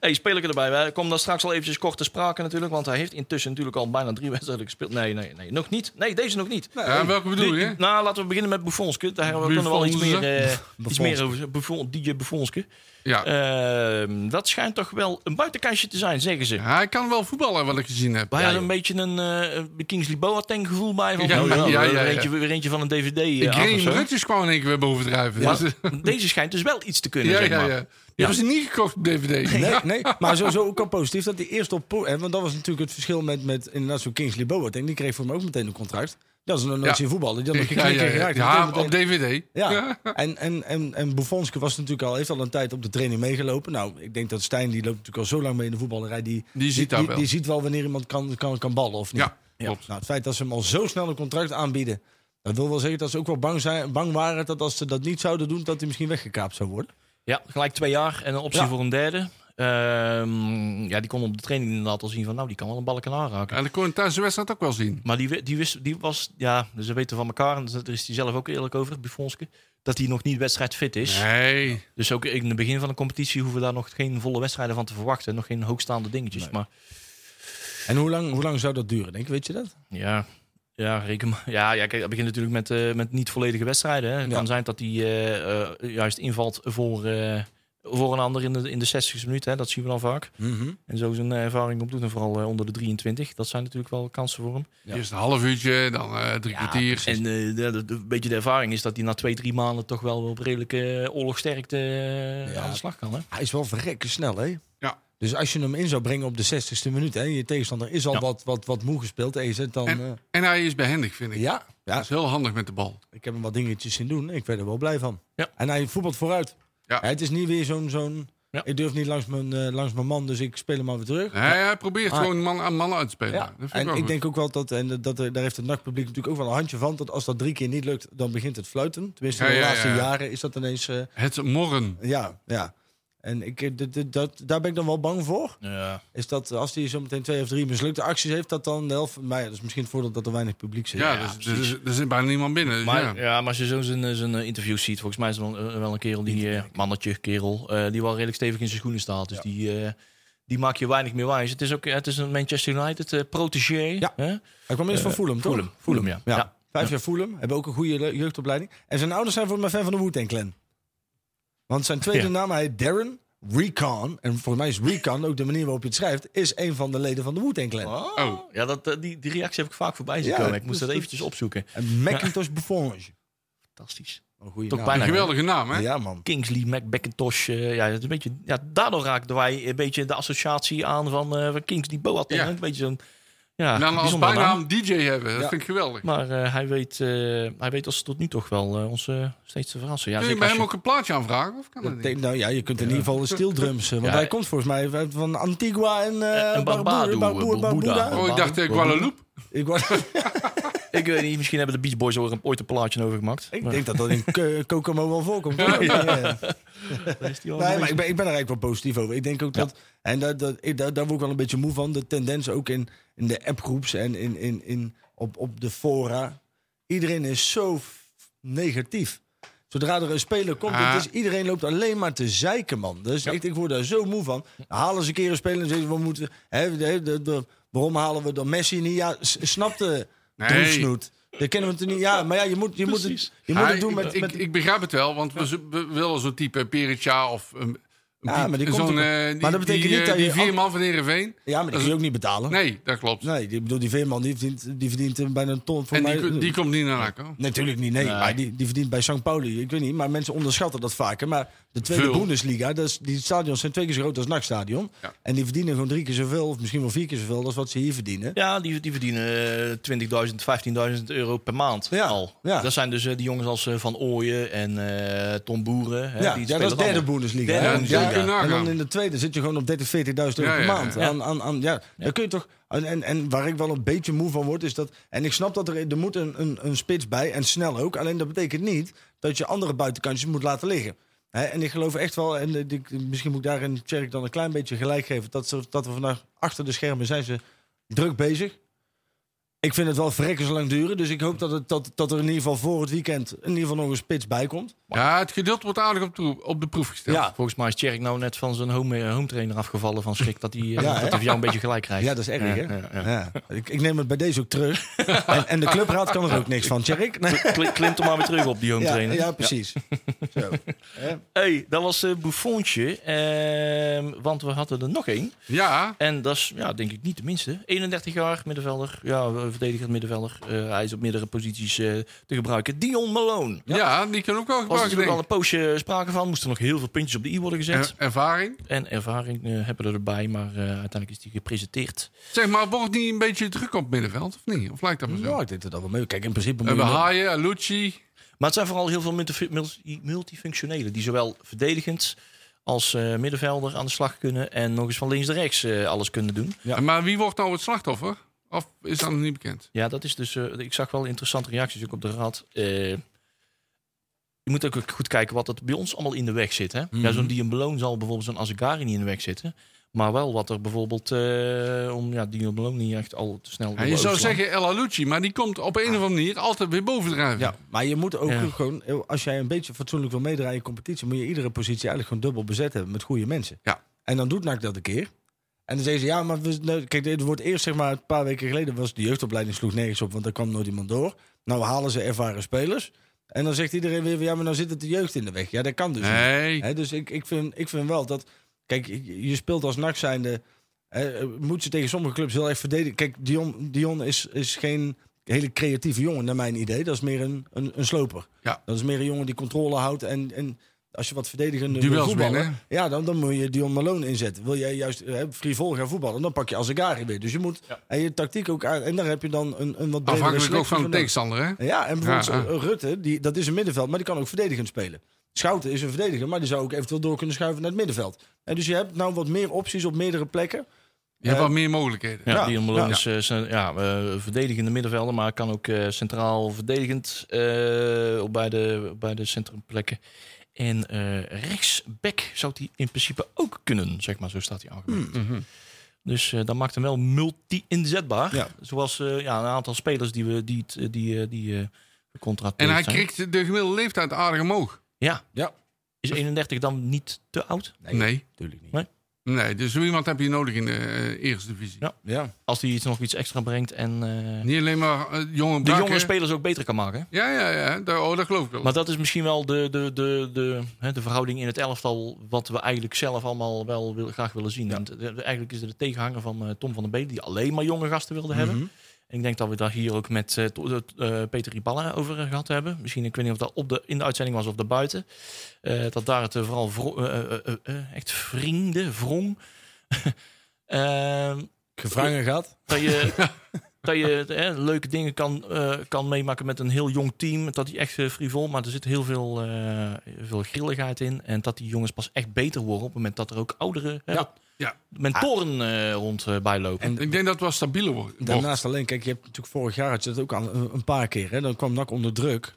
C: Hey, speler erbij. Wij komen daar straks al eventjes kort te sprake natuurlijk. Want hij heeft intussen natuurlijk al bijna drie *laughs* wedstrijden gespeeld. Nee, nee, nee. Nog niet. Nee, deze nog niet.
D: Ja, welke bedoel
C: Die-
D: je?
C: Nou, laten we beginnen met Buffonske. Daar hebben we kunnen we wel iets meer,
D: Buffonse. *laughs*
C: eh, iets meer
E: Buffonske.
C: over Buffon, DJ Buffonske. Eh.
D: Ja.
C: Ehm, dat schijnt toch wel een buitenkantje te zijn, zeggen ze.
D: Hij kan wel voetballen, wat ik gezien heb.
C: Wij
D: Ja,
C: hadden
D: joh.
C: een beetje een eh, Kingsley Boateng gevoel bij. Van,
D: Ja,
C: oh,
D: ja,
C: weer
D: ja, ja.
C: Eentje, weer eentje van een DVD eh,
D: Ik
C: af of
D: Graham
C: zo.
D: Rutjes kwam in één keer weer bovendrijven. *laughs* Ja, dus,
C: Maar deze schijnt dus wel iets te kunnen,
D: ja,
C: zeg
D: ja,
C: maar.
D: ja. Die was niet gekocht op DVD.
E: Nee, nee, maar sowieso ook al positief dat hij eerst op... po- hè, Want dat was natuurlijk het verschil met, met inderdaad zo'n Kingsley Boateng. Die kreeg voor me ook meteen een contract. Dat is nog nooit
D: Ja.
E: zien voetballen. Die had nog geen
D: Ja,
E: keer
D: ja, ja.
E: geraakt.
D: Ja,
E: Meteen-
D: op DVD.
E: Ja, en, en, en, en Buffonske was natuurlijk al, heeft al een tijd op de training meegelopen. Nou, ik denk dat Stijn, die loopt natuurlijk al zo lang mee in de voetballerij, die,
D: Die ziet dat
E: die,
D: wel.
E: die ziet wel wanneer iemand kan, kan, kan ballen of niet.
D: Ja, klopt.
E: Nou, het feit dat ze hem al zo snel een contract aanbieden, dat wil wel zeggen dat ze ook wel bang, zijn, bang waren dat als ze dat niet zouden doen, dat hij misschien weggekaapt zou worden.
C: Ja, gelijk twee jaar en een optie
E: Ja.
C: voor een derde. Ehm, ja, die kon op de training inderdaad al zien van, nou, die kan wel een balken aanraken.
D: En dat kon je tijdens de wedstrijd ook wel zien.
C: Maar die, we- die, wist, die was, ja, ze weten van elkaar, en daar is hij zelf ook eerlijk over, Buffonske, dat hij nog niet wedstrijdfit is.
D: Nee.
C: Dus ook in het begin van de competitie hoeven we daar nog geen volle wedstrijden van te verwachten. Nog geen hoogstaande dingetjes. Maar
E: En hoe lang, hoe lang zou dat duren, denk ik? Weet je dat?
C: ja, ja, reken maar. Ja, ja, kijk, dat begint natuurlijk met, eh, met niet volledige wedstrijden. Hè. Het
E: Ja.
C: kan zijn dat hij eh, eh, juist invalt voor, eh, voor een ander in de, in de 60 minuten. Hè. Dat zien we dan vaak.
D: Mhm.
C: En zo zijn eh, ervaring opdoet. En vooral eh, onder de 23. Dat zijn natuurlijk wel kansen voor hem.
D: Eerst een half uurtje, dan eh, drie kwartier.
C: En eh, de- de- de- een beetje de ervaring is dat hij na twee, drie maanden toch wel op redelijke eh, oorlogsterkte eh,
E: Ja.
C: aan de slag kan. Hè.
E: Hij is wel verrekken snel, hè?
D: Ja.
E: Dus als je hem in zou brengen op de 60ste minuut, hè, je tegenstander is al
C: Ja.
E: wat, wat, wat moe gespeeld, en je zet dan... eh,
D: En hij is behendig, vind ik.
E: ja, ja,
D: Dat is heel handig met de bal.
E: Ik heb hem wat dingetjes zien doen. Ik werd er wel blij van.
C: Ja.
E: En hij voetbalt vooruit.
D: Ja.
E: Hè, het is niet weer zo'n... zo'n
C: Ja.
E: Ik durf niet langs mijn, eh, langs mijn man, dus ik speel hem maar weer terug.
D: Hij, hij probeert
E: Ah.
D: gewoon man aan man uit te spelen.
E: Ja.
D: Dat vind ik
E: En
D: wel
E: ik
D: goed.
E: denk ook wel dat, en dat er, daar heeft het nachtpubliek natuurlijk ook wel een handje van, dat als dat drie keer niet lukt, dan begint het fluiten. Tenminste,
D: Ja,
E: de
D: ja,
E: laatste
D: ja, ja.
E: jaren is dat ineens... eh,
D: Het morren.
E: ja, ja. En ik, eh, dit- dit- dat, daar ben ik dan wel bang voor.
C: Ja.
E: Is dat als hij zometeen twee of drie mislukte acties heeft, dat dan de helft... Maar ja, dat is misschien het voordeel dat er weinig publiek zit.
D: Ja, dus, dus- er zit bijna niemand binnen. Dus
C: Maar,
D: ja.
C: ja. maar als je zo zijn, eh, zijn eh, interview ziet, volgens mij is er wel, eh, wel een kerel die, eh, mannetje, kerel, eh, die wel redelijk stevig in zijn schoenen staat. Dus die, eh, die maak je weinig meer wijs. Het is ook het is een Manchester United eh protégé.
E: Ja.
C: hè?
E: Hij kwam eerst van Fulham,
C: Eh,
E: toch?
C: Fulham, Fulham, ja.
E: Ja.
C: Ja.
E: Vijf jaar Fulham. Hebben ook een goede le- jeugdopleiding. En zijn ouders zijn voor mij fan van de Wu-Tang Clan. Want zijn tweede
C: Ja.
E: naam, hij heet Darren Recon. En voor mij is Recon, ook de manier waarop je het schrijft, is een van de leden van de Wu-Tang Clan.
D: Oh.
C: Ja, dat, eh, die, die reactie heb ik vaak voorbij zien
E: Ja,
C: komen. Ik
E: dat
C: moest dat
E: is-
C: eventjes opzoeken.
E: En Macintosh Buffonge.
C: Fantastisch.
E: Een goede
C: Toch
E: naam.
C: bijna.
D: Een geweldige naam, hè?
E: Ja, man.
C: Kingsley, McBackintosh. eh, ja, dat is een beetje, ja, daardoor raakten wij een beetje de associatie aan van, eh, van Kingsley Boateng.
D: Ja.
C: Een beetje zo'n... Ja,
D: En dan als
C: bijzondere naam.
D: bijnaam DJ hebben. Dat
E: Ja.
D: vind ik geweldig.
C: Maar eh, hij, weet, eh, hij weet als tot nu toch wel eh, ons eh, steeds te verrassen. Ja,
D: Kun je
C: zeker
D: bij
C: als
D: hem
C: je-
D: ook een plaatje aanvragen? Of kan dat
E: Dat
D: niet?
E: denk- nou ja, je kunt in ieder geval de steel drums. eh, Want
C: Ja.
E: hij komt volgens mij van Antigua en, eh
C: en Barbuda,
E: Barbuda. Barbuda,
C: Barbuda.
E: Barbuda.
D: Oh, ik dacht eh, Guadeloupe.
E: Ik, was-
C: Ik weet niet, misschien hebben de Beach Boys er ooit een plaatje over gemaakt.
E: ik denk dat dat in Ko- Kokomo wel voorkomt. Ja.
D: Oh,
E: Nee, maar ik ben, ik ben er eigenlijk wel positief over. Ik denk ook dat, en dat, dat, ik, daar, daar word ik wel een beetje moe van, de tendens ook in, in de appgroeps en in, in, in, op, op de fora. Iedereen is zo f- negatief. Zodra er een speler komt,
D: Ah.
E: het is, iedereen loopt alleen maar te zeiken, man. Dus ik, ik word daar zo moe van. Dan halen ze een keer een speler en zeggen we moeten... Hè, de, de, de- waarom halen we dan Messi niet? Ja, s- snapte
D: Nee.
E: Droefsnoet. Dan kennen we het niet. Ja, maar ja, je moet, je moet, het,
C: Precies.
E: je moet
D: Ja,
E: het doen
D: ik-
E: met...
D: ik,
E: met
D: ik begrijp het wel, want we, zo- we willen zo'n type Perica of een,
E: ja, maar die komt
D: zo'n...
E: ook-
D: eh, die-
E: maar dat
D: die, eh,
E: betekent niet dat je...
D: Die vier man van Heerenveen.
E: Ja, maar die kun je ook niet betalen. Nee,
D: Nee, dat klopt.
E: die, bedoel, die veerman die verdient, die verdient eh, bijna een ton voor
D: en
E: mij.
D: die, die komt niet naar ACO.
E: Natuurlijk niet, nee.
C: Nee.
E: Maar die, die verdient bij St. Pauli, ik weet niet. Maar mensen onderschatten dat vaker. Maar de tweede
D: Veel.
E: Bundesliga, dat is, die stadions zijn twee keer zo groot als het nachtstadion.
D: Ja.
E: En die verdienen gewoon drie keer zoveel, of misschien wel vier keer zoveel, als wat ze hier verdienen.
C: Ja, die, die verdienen eh, 20.000, 15.000 euro per maand
E: Ja,
C: al.
E: ja.
C: Dat zijn dus eh, die jongens als eh, Van Ooyen en eh Tom Boeren. Hè,
E: Ja,
C: die
E: ja, dat is
C: spelen
E: derde
C: allemaal.
E: Bundesliga.
C: Derde
E: hè?
C: Bundesliga.
E: Ja,
D: kun je
E: en dan
D: nagaan.
E: in de tweede zit je gewoon op 30, 40.000 euro
D: Ja,
E: per
D: ja,
E: maand.
D: ja.
E: Aan, aan, aan, ja. Daar kun je toch, en, en, en waar ik wel een beetje moe van word, is dat... En ik snap dat er, er moet een, een, een spits bij, en snel ook. Alleen dat betekent niet dat je andere buitenkantjes moet laten liggen. Hè, en ik geloof echt wel, en eh, ik- misschien moet ik daarin Tjerk dan een klein beetje gelijk geven... Dat, ze, dat we vandaag achter de schermen zijn ze druk bezig. Ik vind het wel verrekkers lang duren. Dus ik hoop dat, het, dat, dat er in ieder geval voor het weekend... in ieder geval nog een spits bij komt.
D: Ja, het geduld wordt aardig op, toe- op de proef gesteld.
E: Ja.
C: Volgens mij is Tjerk nou net van zijn home, eh, home trainer afgevallen van schrik dat hij eh,
E: *laughs* Ja, hè?
C: dat hij jou een beetje gelijk krijgt.
E: Ja, dat is erg,
C: Ja,
E: hè?
C: ja, ja.
E: Ja. Ik, ik neem het bij deze ook terug. en, en de clubraad kan er ook niks van, Tjerk. Nee.
C: Klim, klimt er maar weer terug op, die home
E: Ja,
C: trainer.
E: ja, precies. Zo. Hè?
C: hey, dat was eh Buffontje. Ehm, want we hadden er nog één.
D: Ja,
C: En dat is, ja, denk ik niet de minste. 31 jaar, middenvelder. Ja, verdedigend middenvelder. Eh, hij is op meerdere posities eh, te gebruiken. Dion Malone.
D: ja. die kunnen ook wel
C: Was
D: gebruiken,
C: natuurlijk
D: denk
C: al
D: ik.
C: een poosje sprake van. Moesten nog heel veel puntjes op de i worden gezet.
D: Er- ervaring.
C: En ervaring eh, hebben we erbij, maar eh, uiteindelijk is die gepresenteerd.
D: Zeg maar, wordt niet een beetje druk op het middenveld, of niet? Of lijkt dat me zo? Eh,
E: Nou, ik denk dat dat wel mee. Kijk, in principe
D: We
E: moet je...
D: hebben
E: nog-
D: Haaien, Alucci.
C: Maar het zijn vooral heel veel multi- multi- multifunctionelen. Die zowel verdedigend als eh, middenvelder aan de slag kunnen. En nog eens van links naar rechts eh, alles kunnen doen.
E: Ja.
D: Maar wie wordt nou het slachtoffer? Of is dat nog niet bekend?
C: Ja, dat is dus. eh, ik zag wel interessante reacties ook op de rad. Eh, je moet ook goed kijken wat er bij ons allemaal in de weg zit. Hè?
D: Mhm.
C: Ja, zo'n Dion Beloon zal bijvoorbeeld zo'n Azegari niet in de weg zitten. Maar wel wat er bijvoorbeeld eh, om ja, Dion Beloon niet echt al te snel.
D: Ja,
C: wil
D: je zou
C: overslaan.
D: zeggen El Alucci, maar die komt op een of andere manier altijd weer bovendrijven.
E: Ja, maar je moet ook
C: Ja.
E: gewoon... Als jij een beetje fatsoenlijk wil meedraaien in competitie... moet je iedere positie eigenlijk gewoon dubbel bezet hebben met goede mensen.
D: Ja.
E: En dan doet NAC dat een keer. En dan zeggen ze, ja, maar we, nou, kijk, dit wordt eerst zeg maar een paar weken geleden was de jeugdopleiding sloeg nergens op, want daar kwam nooit iemand door. Nou halen ze ervaren spelers. En dan zegt iedereen weer, van, ja, maar nou zit het de jeugd in de weg. Ja, dat kan dus
C: eh,
E: niet.
D: Nee.
E: Hè, dus ik, ik, vind, ik vind wel dat. Kijk, je je speelt als NAC zijnde. hè, moet ze tegen sommige clubs heel erg verdedigen. Kijk, Dion, Dion is, is geen hele creatieve jongen, naar mijn idee. Dat is meer een, een, een sloper.
D: Ja.
E: Dat is meer een jongen die controle houdt. En, en als je wat verdedigende wil
D: Duels
E: voetballen,
D: winnen.
E: Ja, dan, dan moet je Dion Malone inzetten. Wil jij juist hè, frivol gaan voetballen, dan pak je Azegari weer. Dus je moet en je tactiek ook aan. En daar heb je dan een, een wat bredere
D: Afhankelijk ook
E: selectie
D: van de
E: nodig.
D: tegenstander, hè?
E: Ja, en bijvoorbeeld
D: Ja,
E: eh, Rutte, die, dat is een middenveld, maar die kan ook verdedigend spelen. Schouten is een verdediger, maar die zou ook eventueel door kunnen schuiven naar het middenveld. En dus je hebt nou wat meer opties op meerdere plekken.
D: Je hebt
E: Eh,
D: wat meer mogelijkheden.
C: Ja,
E: Ja,
C: Dion Malone
E: ja.
C: is eh, zijn- ja, eh, verdedigende middenvelder, maar kan ook eh, centraal verdedigend eh, op bij, de, bij de centrumplekken. En eh rechtsback zou hij in principe ook kunnen, zeg maar, zo staat hij aangemerkt.
D: Mhm.
C: Dus eh, dat maakt hem wel multi-inzetbaar.
E: Ja.
C: Zoals eh, ja, een aantal spelers die we die, het, eh, die, eh, die eh gecontrateerd
D: En hij
C: zijn.
D: krikt de gemiddelde leeftijd aardig omhoog.
C: Ja.
E: Ja.
C: Is 31 dan niet te oud?
D: Nee.
E: natuurlijk niet.
D: Nee, dus zo iemand heb je nodig in de eh, eerste divisie.
C: Ja.
E: Ja,
C: Als hij iets nog iets extra brengt en eh,
D: Niet alleen maar eh, jonge
C: de
D: bakken.
C: jonge spelers ook beter kan maken.
D: Ja, ja, ja. Daar, oh, dat geloof ik wel.
C: Maar dat is misschien wel de, de, de, de, hè, de verhouding in het elftal... wat we eigenlijk zelf allemaal wel wil- graag willen zien. En t- eigenlijk is er de tegenhanger van eh, Tom van der Beek... die alleen maar jonge gasten wilde hebben. En ik denk dat we daar hier ook met eh, to- de- eh, Peter Riballa over eh, gehad hebben. Misschien, ik weet niet of dat op de, in de uitzending was of daarbuiten. Eh, dat daar het eh, vooral vro- eh, eh, eh, eh, echt vrienden, wrong... *laughs* Ehm,
E: gevrangen gaat.
C: dat
D: *laughs*
C: je, dat je hè, leuke dingen kan, eh, kan meemaken met een heel jong team. Dat die echt eh, frivol, maar er zit heel veel, eh, heel veel grilligheid in. En dat die jongens pas echt beter worden op het moment dat er ook oudere hè,
E: Ja.
D: Ja.
C: mentoren eh, rond eh, bijlopen.
E: En-
D: Ik denk dat het wel stabieler wordt.
E: Daarnaast alleen, kijk, je hebt natuurlijk vorig jaar had je dat ook al een, een paar keer. Hè? Dan kwam NAC onder druk.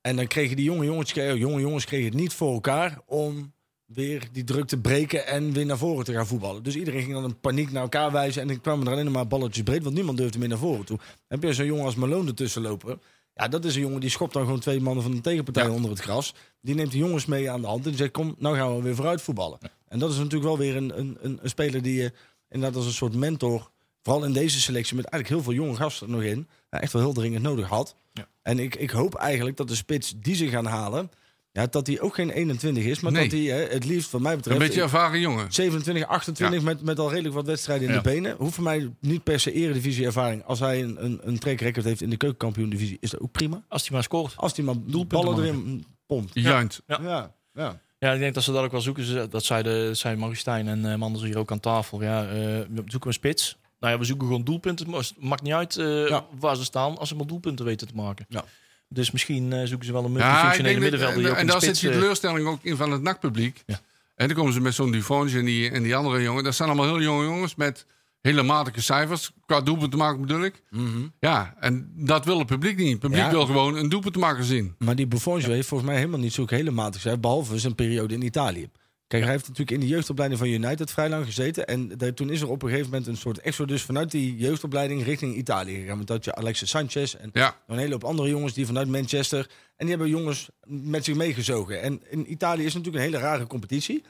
E: En dan kregen die jonge jongens, eh, jonge jongens kregen het niet voor elkaar om weer die druk te breken en weer naar voren te gaan voetballen. Dus iedereen ging dan in paniek naar elkaar wijzen en dan kwamen er alleen maar balletjes breed, want niemand durfde meer naar voren toe. Dan heb je zo'n jongen als Malone ertussen lopen. Ja, dat is een jongen die schopt dan gewoon twee mannen van de tegenpartij onder het gras. Die neemt de jongens mee aan de hand en die zegt, kom, nou gaan we weer vooruit voetballen. En dat is natuurlijk wel weer een, een, een, een speler die je inderdaad als een soort mentor vooral in deze selectie met eigenlijk heel veel jonge gasten er nog in, eh, echt wel heel dringend nodig had.
C: Ja.
E: En ik, ik hoop eigenlijk dat de spits die ze gaan halen, ja, dat die ook geen 21 is, maar
D: Nee.
E: dat die eh, het liefst, wat mij
D: Een
E: betreft,
D: beetje ervaren jongen.
E: 27, 28 met, met al redelijk wat wedstrijden in
C: Ja.
E: de benen. Hoeft voor mij niet per se eredivisie ervaring. Als hij een, een, een track record heeft in de keukenkampioen divisie, is dat ook prima.
C: Als hij maar scoort.
E: Als hij maar ballen erin pompt.
D: Juint.
C: Ja.
E: Ja, ja.
C: Ja, ik denk dat ze dat ook wel zoeken. Ze- Dat zeiden, zeiden Maristijn en eh, Manders hier ook aan tafel. Ja, eh, we zoeken een spits. Nou ja, we zoeken gewoon doelpunten. Het ma- maakt niet uit eh,
E: Ja.
C: waar ze staan, als ze maar doelpunten weten te maken.
E: Ja.
C: Dus misschien eh, zoeken ze wel een
D: Ja,
C: multifunctionele
D: ik denk dat-
C: middenvelder die ook
D: en
C: een
D: daar zit
C: spits...
D: die
C: eh,
D: teleurstelling ook in van het NAC-publiek.
C: Ja.
D: En dan komen ze met zo'n Dufonge en die, en die andere jongen. Dat zijn allemaal heel jonge jongens met hele matige cijfers. Qua doelpunt te maken bedoel ik.
C: Mhm.
D: Ja, en dat wil het publiek niet. Het publiek
E: Ja.
D: wil gewoon een doelpunt te maken zien.
E: Maar die Buffon heeft volgens mij helemaal niet zo'n hele matig zijn. Behalve zijn periode in Italië. Kijk, hij heeft natuurlijk in de jeugdopleiding van United vrij lang gezeten. En daar- toen is er op een gegeven moment een soort exodus vanuit die jeugdopleiding richting Italië gegaan. Want dat je Alexis Sanchez en
D: Ja,
E: Nog Een hele hoop andere jongens die vanuit Manchester. En die hebben jongens met zich meegezogen. En in Italië is het natuurlijk een hele rare competitie. Ik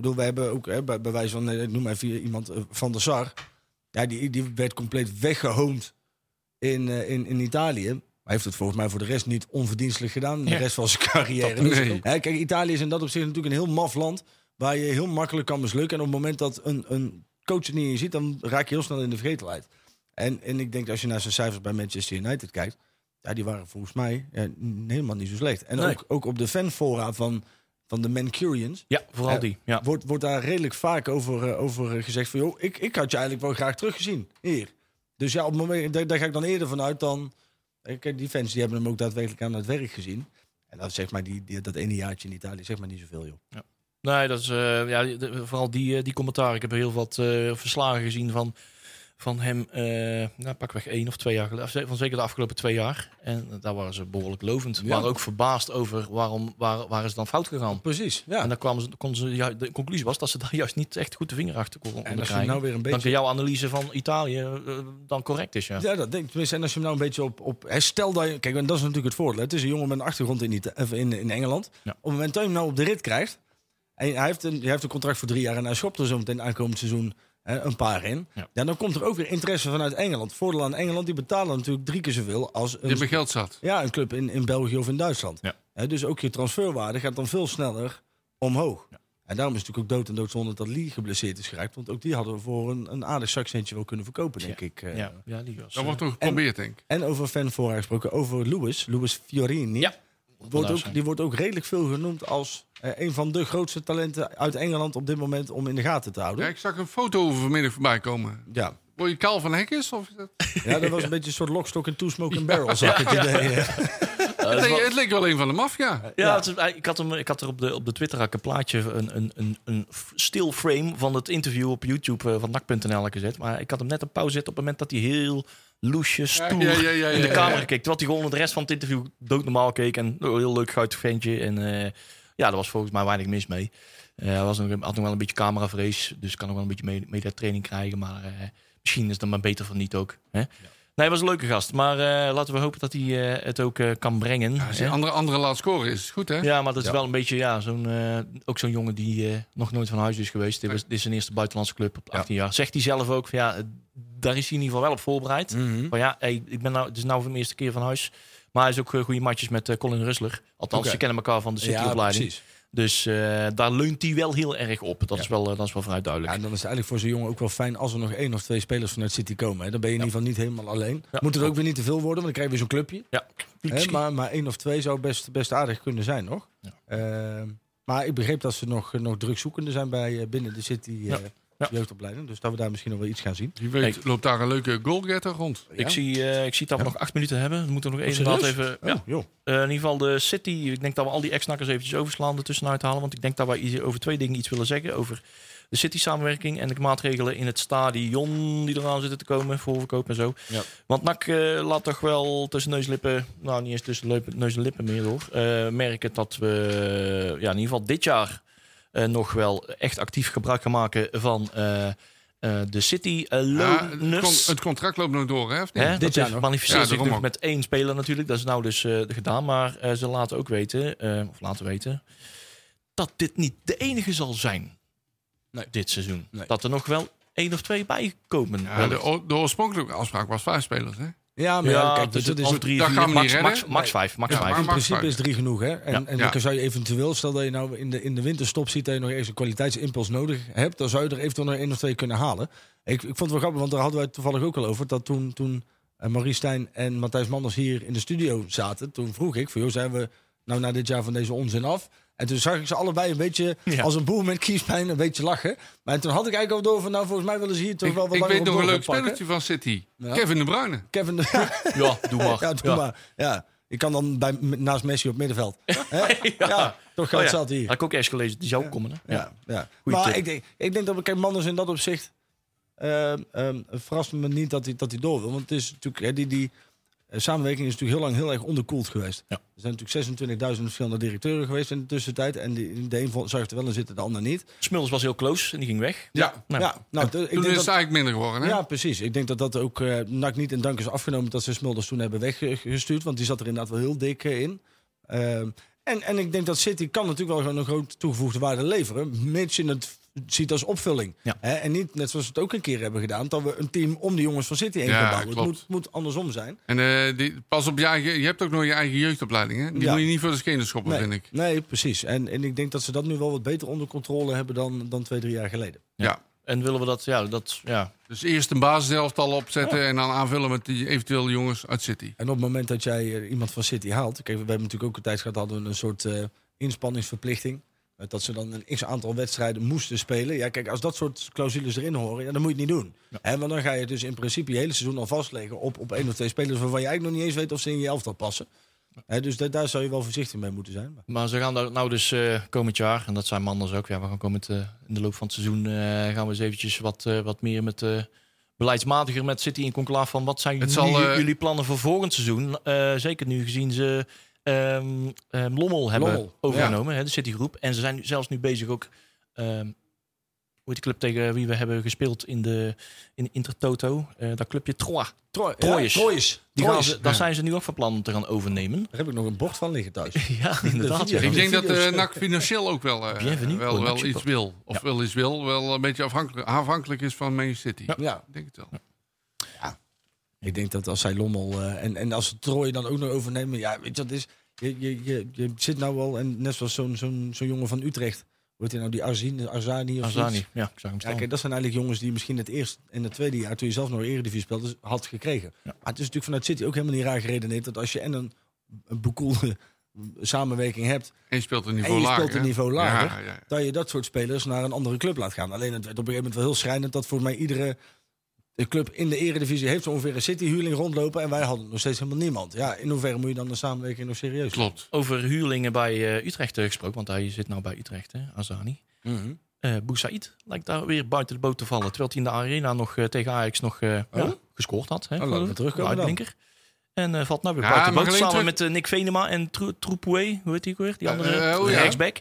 E: bedoel, we hebben ook hè, bij, bij wijze van, eh, noem maar even iemand, eh, Van der Sar. Ja, die, die werd compleet weggehoond in, eh, in, in Italië. Maar heeft het volgens mij voor de rest niet onverdienstelijk gedaan. De
C: Ja.
E: rest van zijn *laughs* carrière.
D: Dat- nee.
E: hè, kijk, Italië is in dat opzicht natuurlijk een heel maf land. Waar je heel makkelijk kan mislukken. En op het moment dat een, een coach het niet in je ziet, dan raak je heel snel in de vergetelheid. En, en ik denk dat als je naar zijn cijfers bij Manchester United kijkt. Ja, die waren volgens mij eh, n- helemaal niet zo slecht. En
C: Nee.
E: ook, ook op de fanfora van, van de Mancurians
C: Ja, vooral
E: Ja.
C: die. Ja.
E: wordt, wordt daar redelijk vaak over, eh, over eh, gezegd van... joh, ik, ik had je eigenlijk wel graag teruggezien hier. Dus ja, op het moment, daar, daar ga ik dan eerder van uit dan... eh, Kijk, die fans die hebben hem ook daadwerkelijk aan het werk gezien. En dat, zeg maar, die, die- dat ene jaartje in Italië zeg maar niet zoveel, joh.
C: Nee, dat is eh, ja, de- vooral die, eh, die commentaar. Ik heb heel wat eh, verslagen gezien van, van hem, eh nou, pakweg één of twee jaar geleden. Of ze- Van zeker de afgelopen twee jaar. En eh, daar waren ze behoorlijk lovend. Maar ook verbaasd over waarom, waar, waar is dan fout gegaan.
E: Precies, ja.
C: En dan kwamen ze, konden ze, ja, de conclusie was dat ze daar *laughs* juist niet echt goed de vinger achter konden
E: En als je
C: krijgen.
E: nou weer een
C: Dan
E: beetje...
C: kan jouw analyse van Italië eh, dan correct is, ja.
E: Ja, dat denk ik. Tenminste, en als je hem nou een beetje op... op hè, stel dat je... Kijk, want dat is natuurlijk het voordeel. hè. Het is een jongen met een achtergrond in, Ita- of in, in Engeland.
C: Ja.
E: Op het moment dat je hem nou op de rit krijgt... En hij heeft een, hij heeft een contract voor drie jaar... en hij schopt er zo meteen aankomend seizoen hè, een paar in. Ja.
C: Ja.
E: dan komt er ook weer interesse vanuit Engeland. Voordeel aan Engeland, die betalen natuurlijk drie keer zoveel... als
D: die hebben
E: een,
D: geld zat.
E: ja, een club in, in België of in Duitsland.
C: Ja.
E: Hè, dus ook je transferwaarde gaat dan veel sneller omhoog. En daarom is het natuurlijk ook dood en doodzonde dat Lee geblesseerd is geraakt. Want ook die hadden we voor een, een aardig zakcentje wel kunnen verkopen, denk ik. eh.
C: Ja, ja die was...
D: Dat
C: eh,
D: wordt toch geprobeerd, denk ik.
E: En over fanfora gesproken, over Louis, Louis Fiorini.
C: Ja.
E: Wordt
C: Vandaar
E: ook,
C: zijn.
E: die wordt ook redelijk veel genoemd als eh, een van de grootste talenten uit Engeland op dit moment om in de gaten te
D: Ja,
E: houden.
D: ik zag een foto vanmiddag voorbij komen.
E: Ja,
D: Word je Kaal van Hekkes?
C: *laughs*
D: Of is dat...
E: ja dat was een beetje een soort lokstok en two smoke and barrel, zag ik het idee. eh.
C: Eh,
D: het,
C: dat
D: leek,
C: was-
D: het leek wel een van de maffia.
C: Ja, het is- ik, had hem, ik had er op de, op de Twitter had ik een plaatje, een, een, een, een f- still frame van het interview op YouTube eh, van NAC.nl gezet. Maar ik had hem net een pauze zetten op het moment dat hij heel loesje, stoer
D: ja, ja, ja,
C: in de
D: ja,
C: camera
D: ja.
C: keek. Terwijl hij gewoon de rest van het interview doodnormaal keek en oh, heel leuk guitig ventje. En eh, ja, daar was volgens mij weinig mis mee. Eh, Hij was nog, had nog wel een beetje cameravrees, dus kan ook wel een beetje mee- mediatraining krijgen. Maar eh, misschien is het dan maar beter van niet ook. Hè? Nee, hij was een leuke gast. Maar eh, laten we hopen dat hij eh, het ook eh, kan brengen.
D: Als
C: hè?
D: je andere, andere laat scoren is het goed, hè?
C: Ja, maar dat is wel een beetje ja, zo'n, eh, ook zo'n jongen die eh, nog nooit van huis is geweest. Dit, was, dit is zijn eerste buitenlandse club op 18 jaar. Zegt hij zelf ook van ja, eh, daar is hij in ieder geval wel op voorbereid. Van ja, hey, ik ben nou, het is nou voor mijn eerste keer van huis. Maar hij is ook eh, goede matjes met eh, Colin Rusler. Althans,
E: Oké.
C: ze kennen elkaar van de cityopleiding. dus eh, daar leunt hij wel heel erg op. Dat, is, wel, eh, dat is wel vrij
E: Ja,
C: duidelijk.
E: en dan is het eigenlijk voor zo'n jongen ook wel fijn als er nog één of twee spelers vanuit City komen. Hè. Dan ben je in ieder geval niet helemaal alleen.
C: Ja.
E: Moet het ook weer niet te veel worden, want dan krijg je weer zo'n clubje.
C: Ja,
E: Hè, maar, maar één of twee zou best, best aardig kunnen zijn, nog.
C: Ja.
E: Ehm, maar ik begreep dat ze nog, nog drugzoekende zijn bij, eh, binnen de City eh,
C: Ja. Ja.
E: jeugdopleiding. Dus dat we daar misschien nog wel iets gaan zien.
D: Wie weet loopt daar een leuke goalgetter rond.
C: Ik, zie, eh, ik zie dat we nog acht minuten hebben. We moeten nog even, inderdaad
E: serieus?
C: even ja,
E: Oh, joh.
C: Eh, in ieder geval de City. Ik denk dat we al die ex-nakkers eventjes overslaan ertussenuit halen. Want ik denk dat wij i- over twee dingen iets willen zeggen. Over de City-samenwerking en de maatregelen in het stadion die eraan zitten te komen. Voorverkoop en zo.
E: Ja.
C: Want NAC eh, laat toch wel tussen neus en lippen... Nou, niet eens tussen leup- neus en lippen meer hoor. eh, merken dat we ja, in ieder geval dit jaar eh, nog wel echt actief gebruik gaan maken van... eh, eh, de City eh,
D: Ja, het, con-
C: Loners.
D: het contract loopt nog door, hè? Of niet?
C: Hè,
E: Dit
C: dat
E: jaar
C: is-
E: nog.
C: manifesteert
D: Ja,
C: zich
D: daarom
C: nu
D: ook.
C: met één speler natuurlijk. Dat is nou dus eh, gedaan. Maar eh, ze laten ook weten, eh, of laten weten, dat dit niet de enige zal zijn
E: Nee.
C: dit seizoen.
E: Nee.
C: Dat er nog wel één of twee bijkomen.
D: Ja, de, o- de oorspronkelijke afspraak was vijf spelers, hè?
E: Ja, maar ja,
C: ja,
E: kijk,
C: dus
E: dus dat is
C: of
E: het-
C: drie,
D: dat
C: vier,
D: gaan we
C: max,
D: niet
C: max,
D: redden.
C: max vijf, max
D: Ja,
C: vijf.
D: maar-
E: in principe
D: Marktwaarde.
E: is drie genoeg. Hè? En, en
D: Ja.
E: dan zou je eventueel, stel dat je nou in de, in de winterstop ziet dat je nog eens een kwaliteitsimpuls nodig hebt, dan zou je er eventueel nog één of twee kunnen halen. Ik, ik vond het wel grappig, want daar hadden wij het toevallig ook al over, dat toen, toen eh, Marie Stijn en Matthijs Manders hier in de studio zaten, toen vroeg ik, voor joh, zijn we nou na dit jaar van deze onzin af? En toen zag ik ze allebei een beetje
C: Ja.
E: als een boer met kiespijn een beetje lachen. Maar toen had ik eigenlijk al door van, nou volgens mij willen ze hier toch
D: Ik,
E: wel wat
D: ik
E: langer
D: weet
E: op
D: nog een
E: door
D: leuk
E: gaan pakken.
D: spelletje van City.
E: Ja.
D: Kevin de Bruyne.
E: Kevin de... *laughs*
C: Ja, doe maar.
E: Ja,
C: *laughs*
E: doe maar. Ja. Ik kan dan bij, m- naast Messi op
D: *laughs*
E: middenveld. Hè? ja. toch
C: Oh
E: gaat zat
C: Had
E: hier.
C: ik ook eerst gelezen, die zou komen. Hè?
E: Ja, ja.
C: Goeie
E: Maar
C: tip.
E: ik denk, ik denk dat kijk, Manders in dat opzicht... ehm ehm, het verrast me niet dat hij, dat hij door wil. Want het is natuurlijk, hè, die, die eh, samenwerking is natuurlijk heel lang heel erg onderkoeld geweest.
C: Ja.
E: Er zijn natuurlijk 26.000 verschillende directeuren geweest in de tussentijd. En die, de een vo- zag er wel in zitten, de ander niet.
C: Smulders was heel close en die ging weg.
D: Ja.
C: Nou,
E: ja, nou, d- ik
D: Toen
E: denk
D: is het
E: dat-
D: eigenlijk minder geworden, hè?
E: Ja, precies. Ik denk dat dat ook eh NAC niet in dank is afgenomen dat ze Smulders toen hebben weggestuurd. Want die zat er inderdaad wel heel dik eh, in. Ehm, en, en ik denk dat City kan natuurlijk wel gewoon een grote toegevoegde waarde leveren. Mits je het ziet als opvulling.
C: Ja.
E: Hè, en niet, net zoals we het ook een keer hebben gedaan, dat we een team om de jongens van City heen
D: Ja,
E: gaan bouwen.
D: klopt.
E: Het moet, moet andersom zijn.
D: En eh, die, pas op, je, eigen, je hebt ook nog je eigen jeugdopleiding, hè? Die
E: Ja.
D: moet je niet voor de schenen schoppen,
E: Nee,
D: vind ik.
E: nee precies. En, en ik denk dat ze dat nu wel wat beter onder controle hebben dan, dan twee, drie jaar geleden.
D: Ja.
C: En willen we dat, ja, dat, ja.
D: Dus eerst een basiselftal opzetten en dan aanvullen met die eventueel jongens uit City.
E: En op het moment dat jij eh, iemand van City haalt, kijk, we hebben natuurlijk ook een tijd gehad, hadden we een soort eh, inspanningsverplichting. Eh, Dat ze dan een x aantal wedstrijden moesten spelen. Ja, kijk, als dat soort clausules erin horen, ja, dan moet je het niet doen. Hè, want dan ga je dus in principe je hele seizoen al vastleggen op, op één of twee spelers waarvan je eigenlijk nog niet eens weet of ze in je elftal passen. Hè, dus da- daar zou je wel voorzichtig mee moeten zijn. Maar-
C: Maar ze gaan daar nou dus eh, komend jaar, en dat zijn Manders ook, ja, we gaan komend, eh, in de loop van het seizoen eh, gaan we eens eventjes wat, eh, wat meer met, eh, beleidsmatiger met City in conclave van wat zijn
D: Het
C: nu
D: zal, eh,
C: jullie plannen voor volgend seizoen? Eh, zeker nu gezien ze ehm, ehm, Lommel hebben
E: Lommel,
C: overgenomen, hè, de Citygroep. En ze zijn nu- zelfs nu bezig ook, ehm, hoe heet de club tegen wie we hebben gespeeld in de in Intertoto, Eh dat clubje Troyes.
E: Troy-
C: Troyes.
E: Ja, Troyes.
C: Die gaan
E: Troyes.
C: ze, daar zijn ze nu ook van plan om te gaan overnemen.
E: Daar heb ik nog een bord van liggen thuis.
C: *laughs* Ja, inderdaad.
E: video.
C: ja.
D: Ik denk dat
E: video's.
D: eh NAC financieel ook wel, eh,
C: Bienvenue
D: wel,
C: voor
D: wel
C: NAC
D: iets wil. Of wel iets wil, wel een beetje afhankelijk, afhankelijk is van Man City.
E: Ja.
D: Ik denk het wel.
E: Ik denk dat als zij Lommel eh, en, en als ze Troy dan ook nog overnemen. Ja, weet je wat het is? Je, je, je, je zit nou wel, en net zoals zo'n zo'n zo'n jongen van Utrecht. Wordt hij nou die Arzine, Arzani of zoiets?
C: Arzani, Oh. ja, ik zag hem
E: Ja,
C: staan.
E: kijk, dat zijn eigenlijk jongens die misschien het eerste en het tweede jaar, toen je zelf nog Eredivisie speelde, dus had gekregen. Maar het is natuurlijk vanuit City ook helemaal niet raar geredeneerd dat als je en een, een bekoelde *laughs* samenwerking hebt,
D: En je speelt een niveau
E: en je
D: lager.
E: speelt een
D: hè?
E: niveau lager,
D: Ja, ja.
E: dat je dat soort spelers naar een andere club laat gaan. Alleen het werd op een gegeven moment wel heel schrijnend dat voor mij iedere club in de eredivisie heeft zo ongeveer een City-huurling rondlopen en wij hadden nog steeds helemaal niemand. Ja, in hoeverre moet je dan de samenwerking nog serieus nemen?
D: Klopt.
C: Over huurlingen bij eh, Utrecht eh, gesproken, want hij zit nou bij Utrecht, hè, Azani. Eh Boussaïd lijkt daar weer buiten de boot te vallen. Terwijl hij in de arena nog eh, tegen Ajax nog eh,
E: Oh?
C: ja, gescoord had. Hè,
E: laten we
C: geloof ik.
E: terugkomen
C: Een
E: dan.
C: uitblinker. En eh, valt nou weer
D: Ja,
C: buiten de
D: maar
C: boot.
D: alleen
C: Samen met eh, Nick Venema en Tro- Troepoué, hoe heet die ook weer? Die
D: Eh,
C: andere
D: eh, oh ja.
C: rechtsback.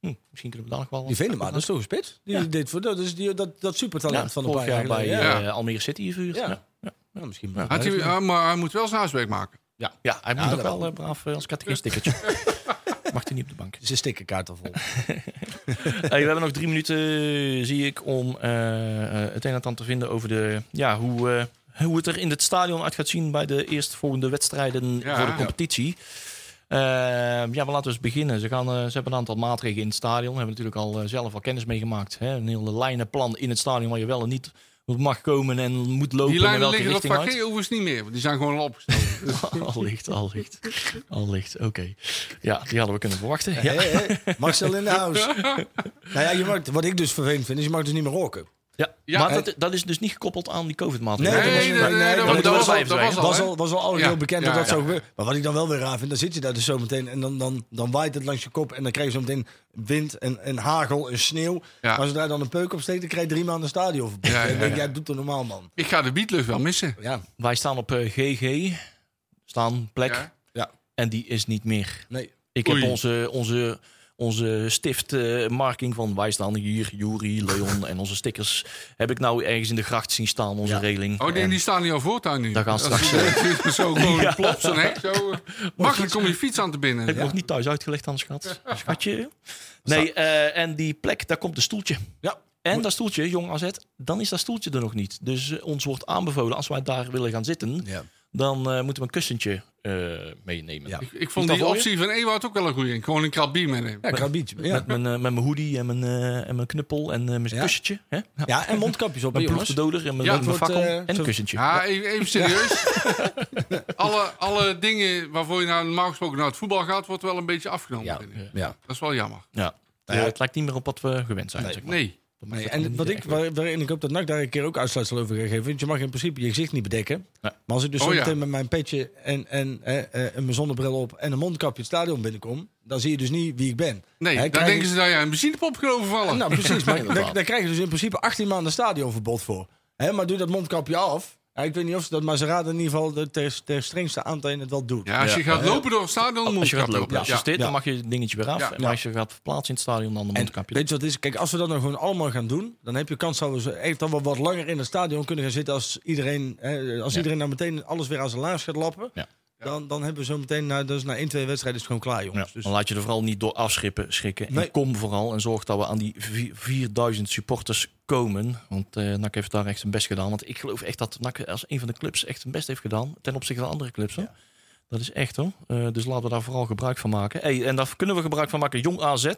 C: Hm, misschien kunnen we daar nog wel wat-
E: Die Venema, dat is toch een spits? Die
C: Ja.
E: deed voor, dat is die, dat, dat supertalent
C: Ja,
E: van een
C: vorig
E: paar
C: jaar
E: jaar
C: bij
E: geleden.
D: ja.
C: eh, Almere City verhuurd.
E: Ja.
C: Ja. Ja.
E: Ja, misschien
D: Had hij, ah, maar hij moet wel zijn huiswerk maken.
C: Ja, hij moet
E: Ja,
C: nog
E: dat
C: wel eh, braaf eh, als
E: *laughs*
C: catechist-tikkertje. Mag hij niet op de bank.
E: Ze Zijn stickerkaart al vol.
C: Hey, Eh, we hebben nog drie minuten, zie ik, om eh, eh, het een en ander te vinden over de, ja, hoe, eh, hoe het er in het stadion uit gaat zien bij de eerstvolgende wedstrijden
D: Ja.
C: voor de
D: Ja.
C: competitie. Eh, ja, we laten eens beginnen. Ze, gaan, eh, ze hebben een aantal maatregelen in het stadion. We hebben natuurlijk al eh, zelf al kennis meegemaakt. Hè? Een hele lijnenplan in het stadion waar je wel en niet op mag komen en moet lopen.
D: Die
C: en
D: lijnen
C: welke
D: liggen op
C: richting uit.
D: Fakir overigens niet meer. want Die zijn gewoon al
C: *laughs*
D: opgesteld.
C: Allicht, allicht. Allicht, oké. Ja, die hadden we kunnen verwachten. Ja.
E: Hey, hey, Marcel in de house. nou ja, je mag, wat ik dus vervelend vind, is je mag dus niet meer roken.
C: Ja,
D: Ja, eh,
C: maar
E: het-
C: dat, dat is dus niet gekoppeld aan die
E: Nee,
C: COVID-maatregelen.
E: dat was-
D: nee, nee, nee,
E: nee,
D: dat
E: dat
D: was-
E: was-
D: dat was
C: dat
D: al- dat
C: was
D: was al,
E: was
D: hè?
E: al, was al algemeen
D: Ja,
E: heel bekend
D: ja,
E: dat dat
D: ja.
E: zou gebeuren. Maar wat ik dan wel weer raar vind, dan zit je daar dus zo meteen en dan, dan, dan waait het langs je kop en dan krijg je zo meteen wind en, en hagel en sneeuw.
D: Ja.
E: Maar zodra je dan een peuk opsteekt, dan krijg je drie maanden stadion verbod.
D: Ja, ja,
E: En dan denk
D: ja.
E: ik, Jij doet het normaal, man.
D: Ik ga de bietlucht wel missen.
E: Ja,
C: Wij staan op eh, GG, staan plek,
D: Ja.
E: ja,
C: en die is niet meer.
E: nee.
C: Ik
D: Oei.
C: heb onze, onze, onze stiftmarking van wij staan hier, Juri, Leon en onze stickers, heb ik nou ergens in de gracht zien staan, onze
E: Ja.
C: regeling.
D: Oh, die,
C: En-
D: die staan hier al voortaan nu.
C: Daar gaan ze
D: Als
C: straks-
D: *laughs* je- als je zo gewoon plopt zo'n hek. Zo. eh, Makkelijk om je fiets aan te binnen.
C: Heb ik nog
D: *laughs*
C: niet thuis uitgelegd aan schat. Schatje. Nee, eh, en die plek, daar komt een stoeltje.
E: Ja.
C: En dat stoeltje, jong AZ, dan is dat stoeltje er nog niet. Dus eh, ons wordt aanbevolen, als wij daar willen gaan zitten,
F: Ja.
C: dan eh, moeten we een kussentje eh, meenemen.
F: Ja.
D: Ik, ik vond
C: dat
D: die
C: voor je?
D: optie van Ewout ook wel een goeie. Gewoon een krabbier meenemen.
E: Ja, krabietje. Ja.
C: Met, mijn, eh, met mijn hoodie en mijn, eh, en mijn knuppel en eh, mijn
E: Ja.
C: kussentje. Hè?
E: ja, en mondkapjes op, hè,
C: Mijn ploeg
E: jongens.
C: de doder en mijn,
D: Ja,
C: met mijn
E: het wordt,
C: fakkel
E: eh,
C: en een
E: zo-
C: kussentje.
D: Ja, even, even serieus. alle, alle dingen waarvoor je nou normaal gesproken naar het voetbal gaat, wordt wel een beetje afgenomen.
F: Ja.
D: vind ik.
F: Ja.
D: Dat is wel jammer.
C: Ja. Eh, het lijkt niet meer op wat we gewend zijn. zeg maar.
D: Nee.
C: Dat
E: Nee,
C: maakt het
E: en
C: niet
E: wat ik,
C: echt
E: waar, waarin ik hoop dat NAC daar een keer ook uitsluitsel over ga geven. Want je mag in principe je gezicht niet bedekken.
C: Ja.
E: Maar als ik dus
D: Oh,
E: zo
D: ja.
E: meteen met mijn petje en, en, eh, eh, en mijn zonnebril op en een mondkapje het stadion binnenkom. Dan zie je dus niet wie ik ben.
D: Nee,
E: Hè,
D: daar
E: krijg
D: denken
E: ik-
D: ze dat jij een benzinepop gaat overvallen.
E: Nou
D: *laughs*
E: precies, maar daar,
C: Inderdaad.
E: daar krijg je dus in principe 18 maanden stadionverbod voor. Hè, maar doe dat mondkapje af. Ja, ik weet niet of ze dat Maserati in ieder geval de- ter, ter strengste aanteen het wel doet.
D: ja, als
C: Ja.
D: je gaat lopen door het stadion, moet
C: Als je gaat
D: krabben.
C: lopen, als je
D: Ja.
C: steekt,
E: Ja.
C: dan mag je het dingetje weer af.
D: Ja.
C: Maar als je gaat verplaatsen in het stadion, dan de
E: En
C: mondkapje.
E: weet je wat het is? Kijk, als we dat nou gewoon allemaal gaan doen, dan heb je kans dat we zo- echt al wel wat langer in het stadion kunnen gaan zitten als iedereen, hè, als
C: Ja.
E: iedereen nou meteen alles weer aan zijn laars gaat lappen.
C: Ja.
E: Dan, dan hebben we zo meteen, nou, dus na 1, 2 wedstrijden is het gewoon klaar, jongens.
C: Ja,
E: Dus,
C: Dan laat je er vooral niet door afschrippen, schrikken. En
E: Nee.
C: kom vooral en zorg dat we aan die vi- 4000 supporters komen. Want eh NAC heeft daar echt zijn best gedaan. Want ik geloof echt dat NAC als een van de clubs echt zijn best heeft gedaan. Ten opzichte van andere clubs. Hoor. Dat is echt hoor. Eh, dus laten we daar vooral gebruik van maken. Hey, en daar kunnen we gebruik van maken. Jong AZ.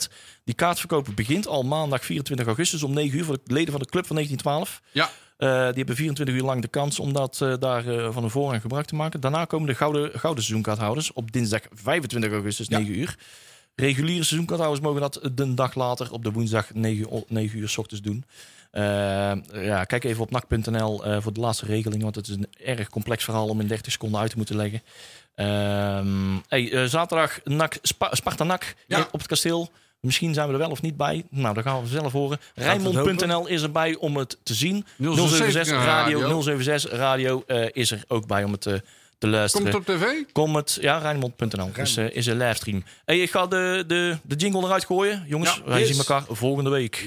C: Die kaartverkoop begint al maandag 24 augustus om 9 uur. Voor de leden van de club van 1912.
D: Ja.
C: Eh, die hebben 24 uur lang de kans om dat, eh, daar eh, van een voorrang gebruik te maken. Daarna komen de gouden, gouden seizoenkaarthouders op dinsdag 25 augustus, 9 uur. Reguliere seizoenkaarthouders mogen dat de dag later op de woensdag 9, o- 9 uur s ochtends doen. Eh, ja, kijk even op nac.nl eh, voor de laatste regeling, want het is een erg complex verhaal om in 30 seconden uit te moeten leggen. Ehm, hey, eh, zaterdag NAC, Spa- Sparta NAC
D: Ja.
C: eh, op het kasteel. Misschien zijn we er wel of niet bij. Nou, dat gaan we zelf horen.
E: Laten we het
C: Rijnmond.nl is erbij om het te zien.
D: 076
C: 076
D: Radio.
C: Radio, 076 Radio eh, is er ook bij om het eh, te luisteren.
D: Komt op tv?
C: Kom het, ja, Rijnmond.nl is, eh, is een livestream. Hey, ik ga de, de, de jingle eruit gooien. Jongens,
D: Ja,
C: wij
E: yes.
C: zien elkaar volgende week.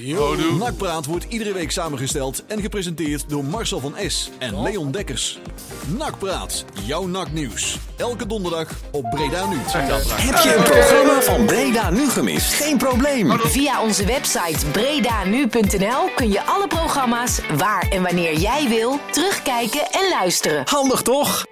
B: Nakpraat wordt iedere week samengesteld en gepresenteerd door Marcel van S en Leon Dekkers. Nakpraat, jouw naknieuws. Elke donderdag op Breda Nu.
G: Heb je een programma van Breda nu gemist? Geen probleem.
H: Via onze website bredanu.nl kun je alle programma's waar en wanneer jij wil terugkijken en luisteren.
G: Handig toch?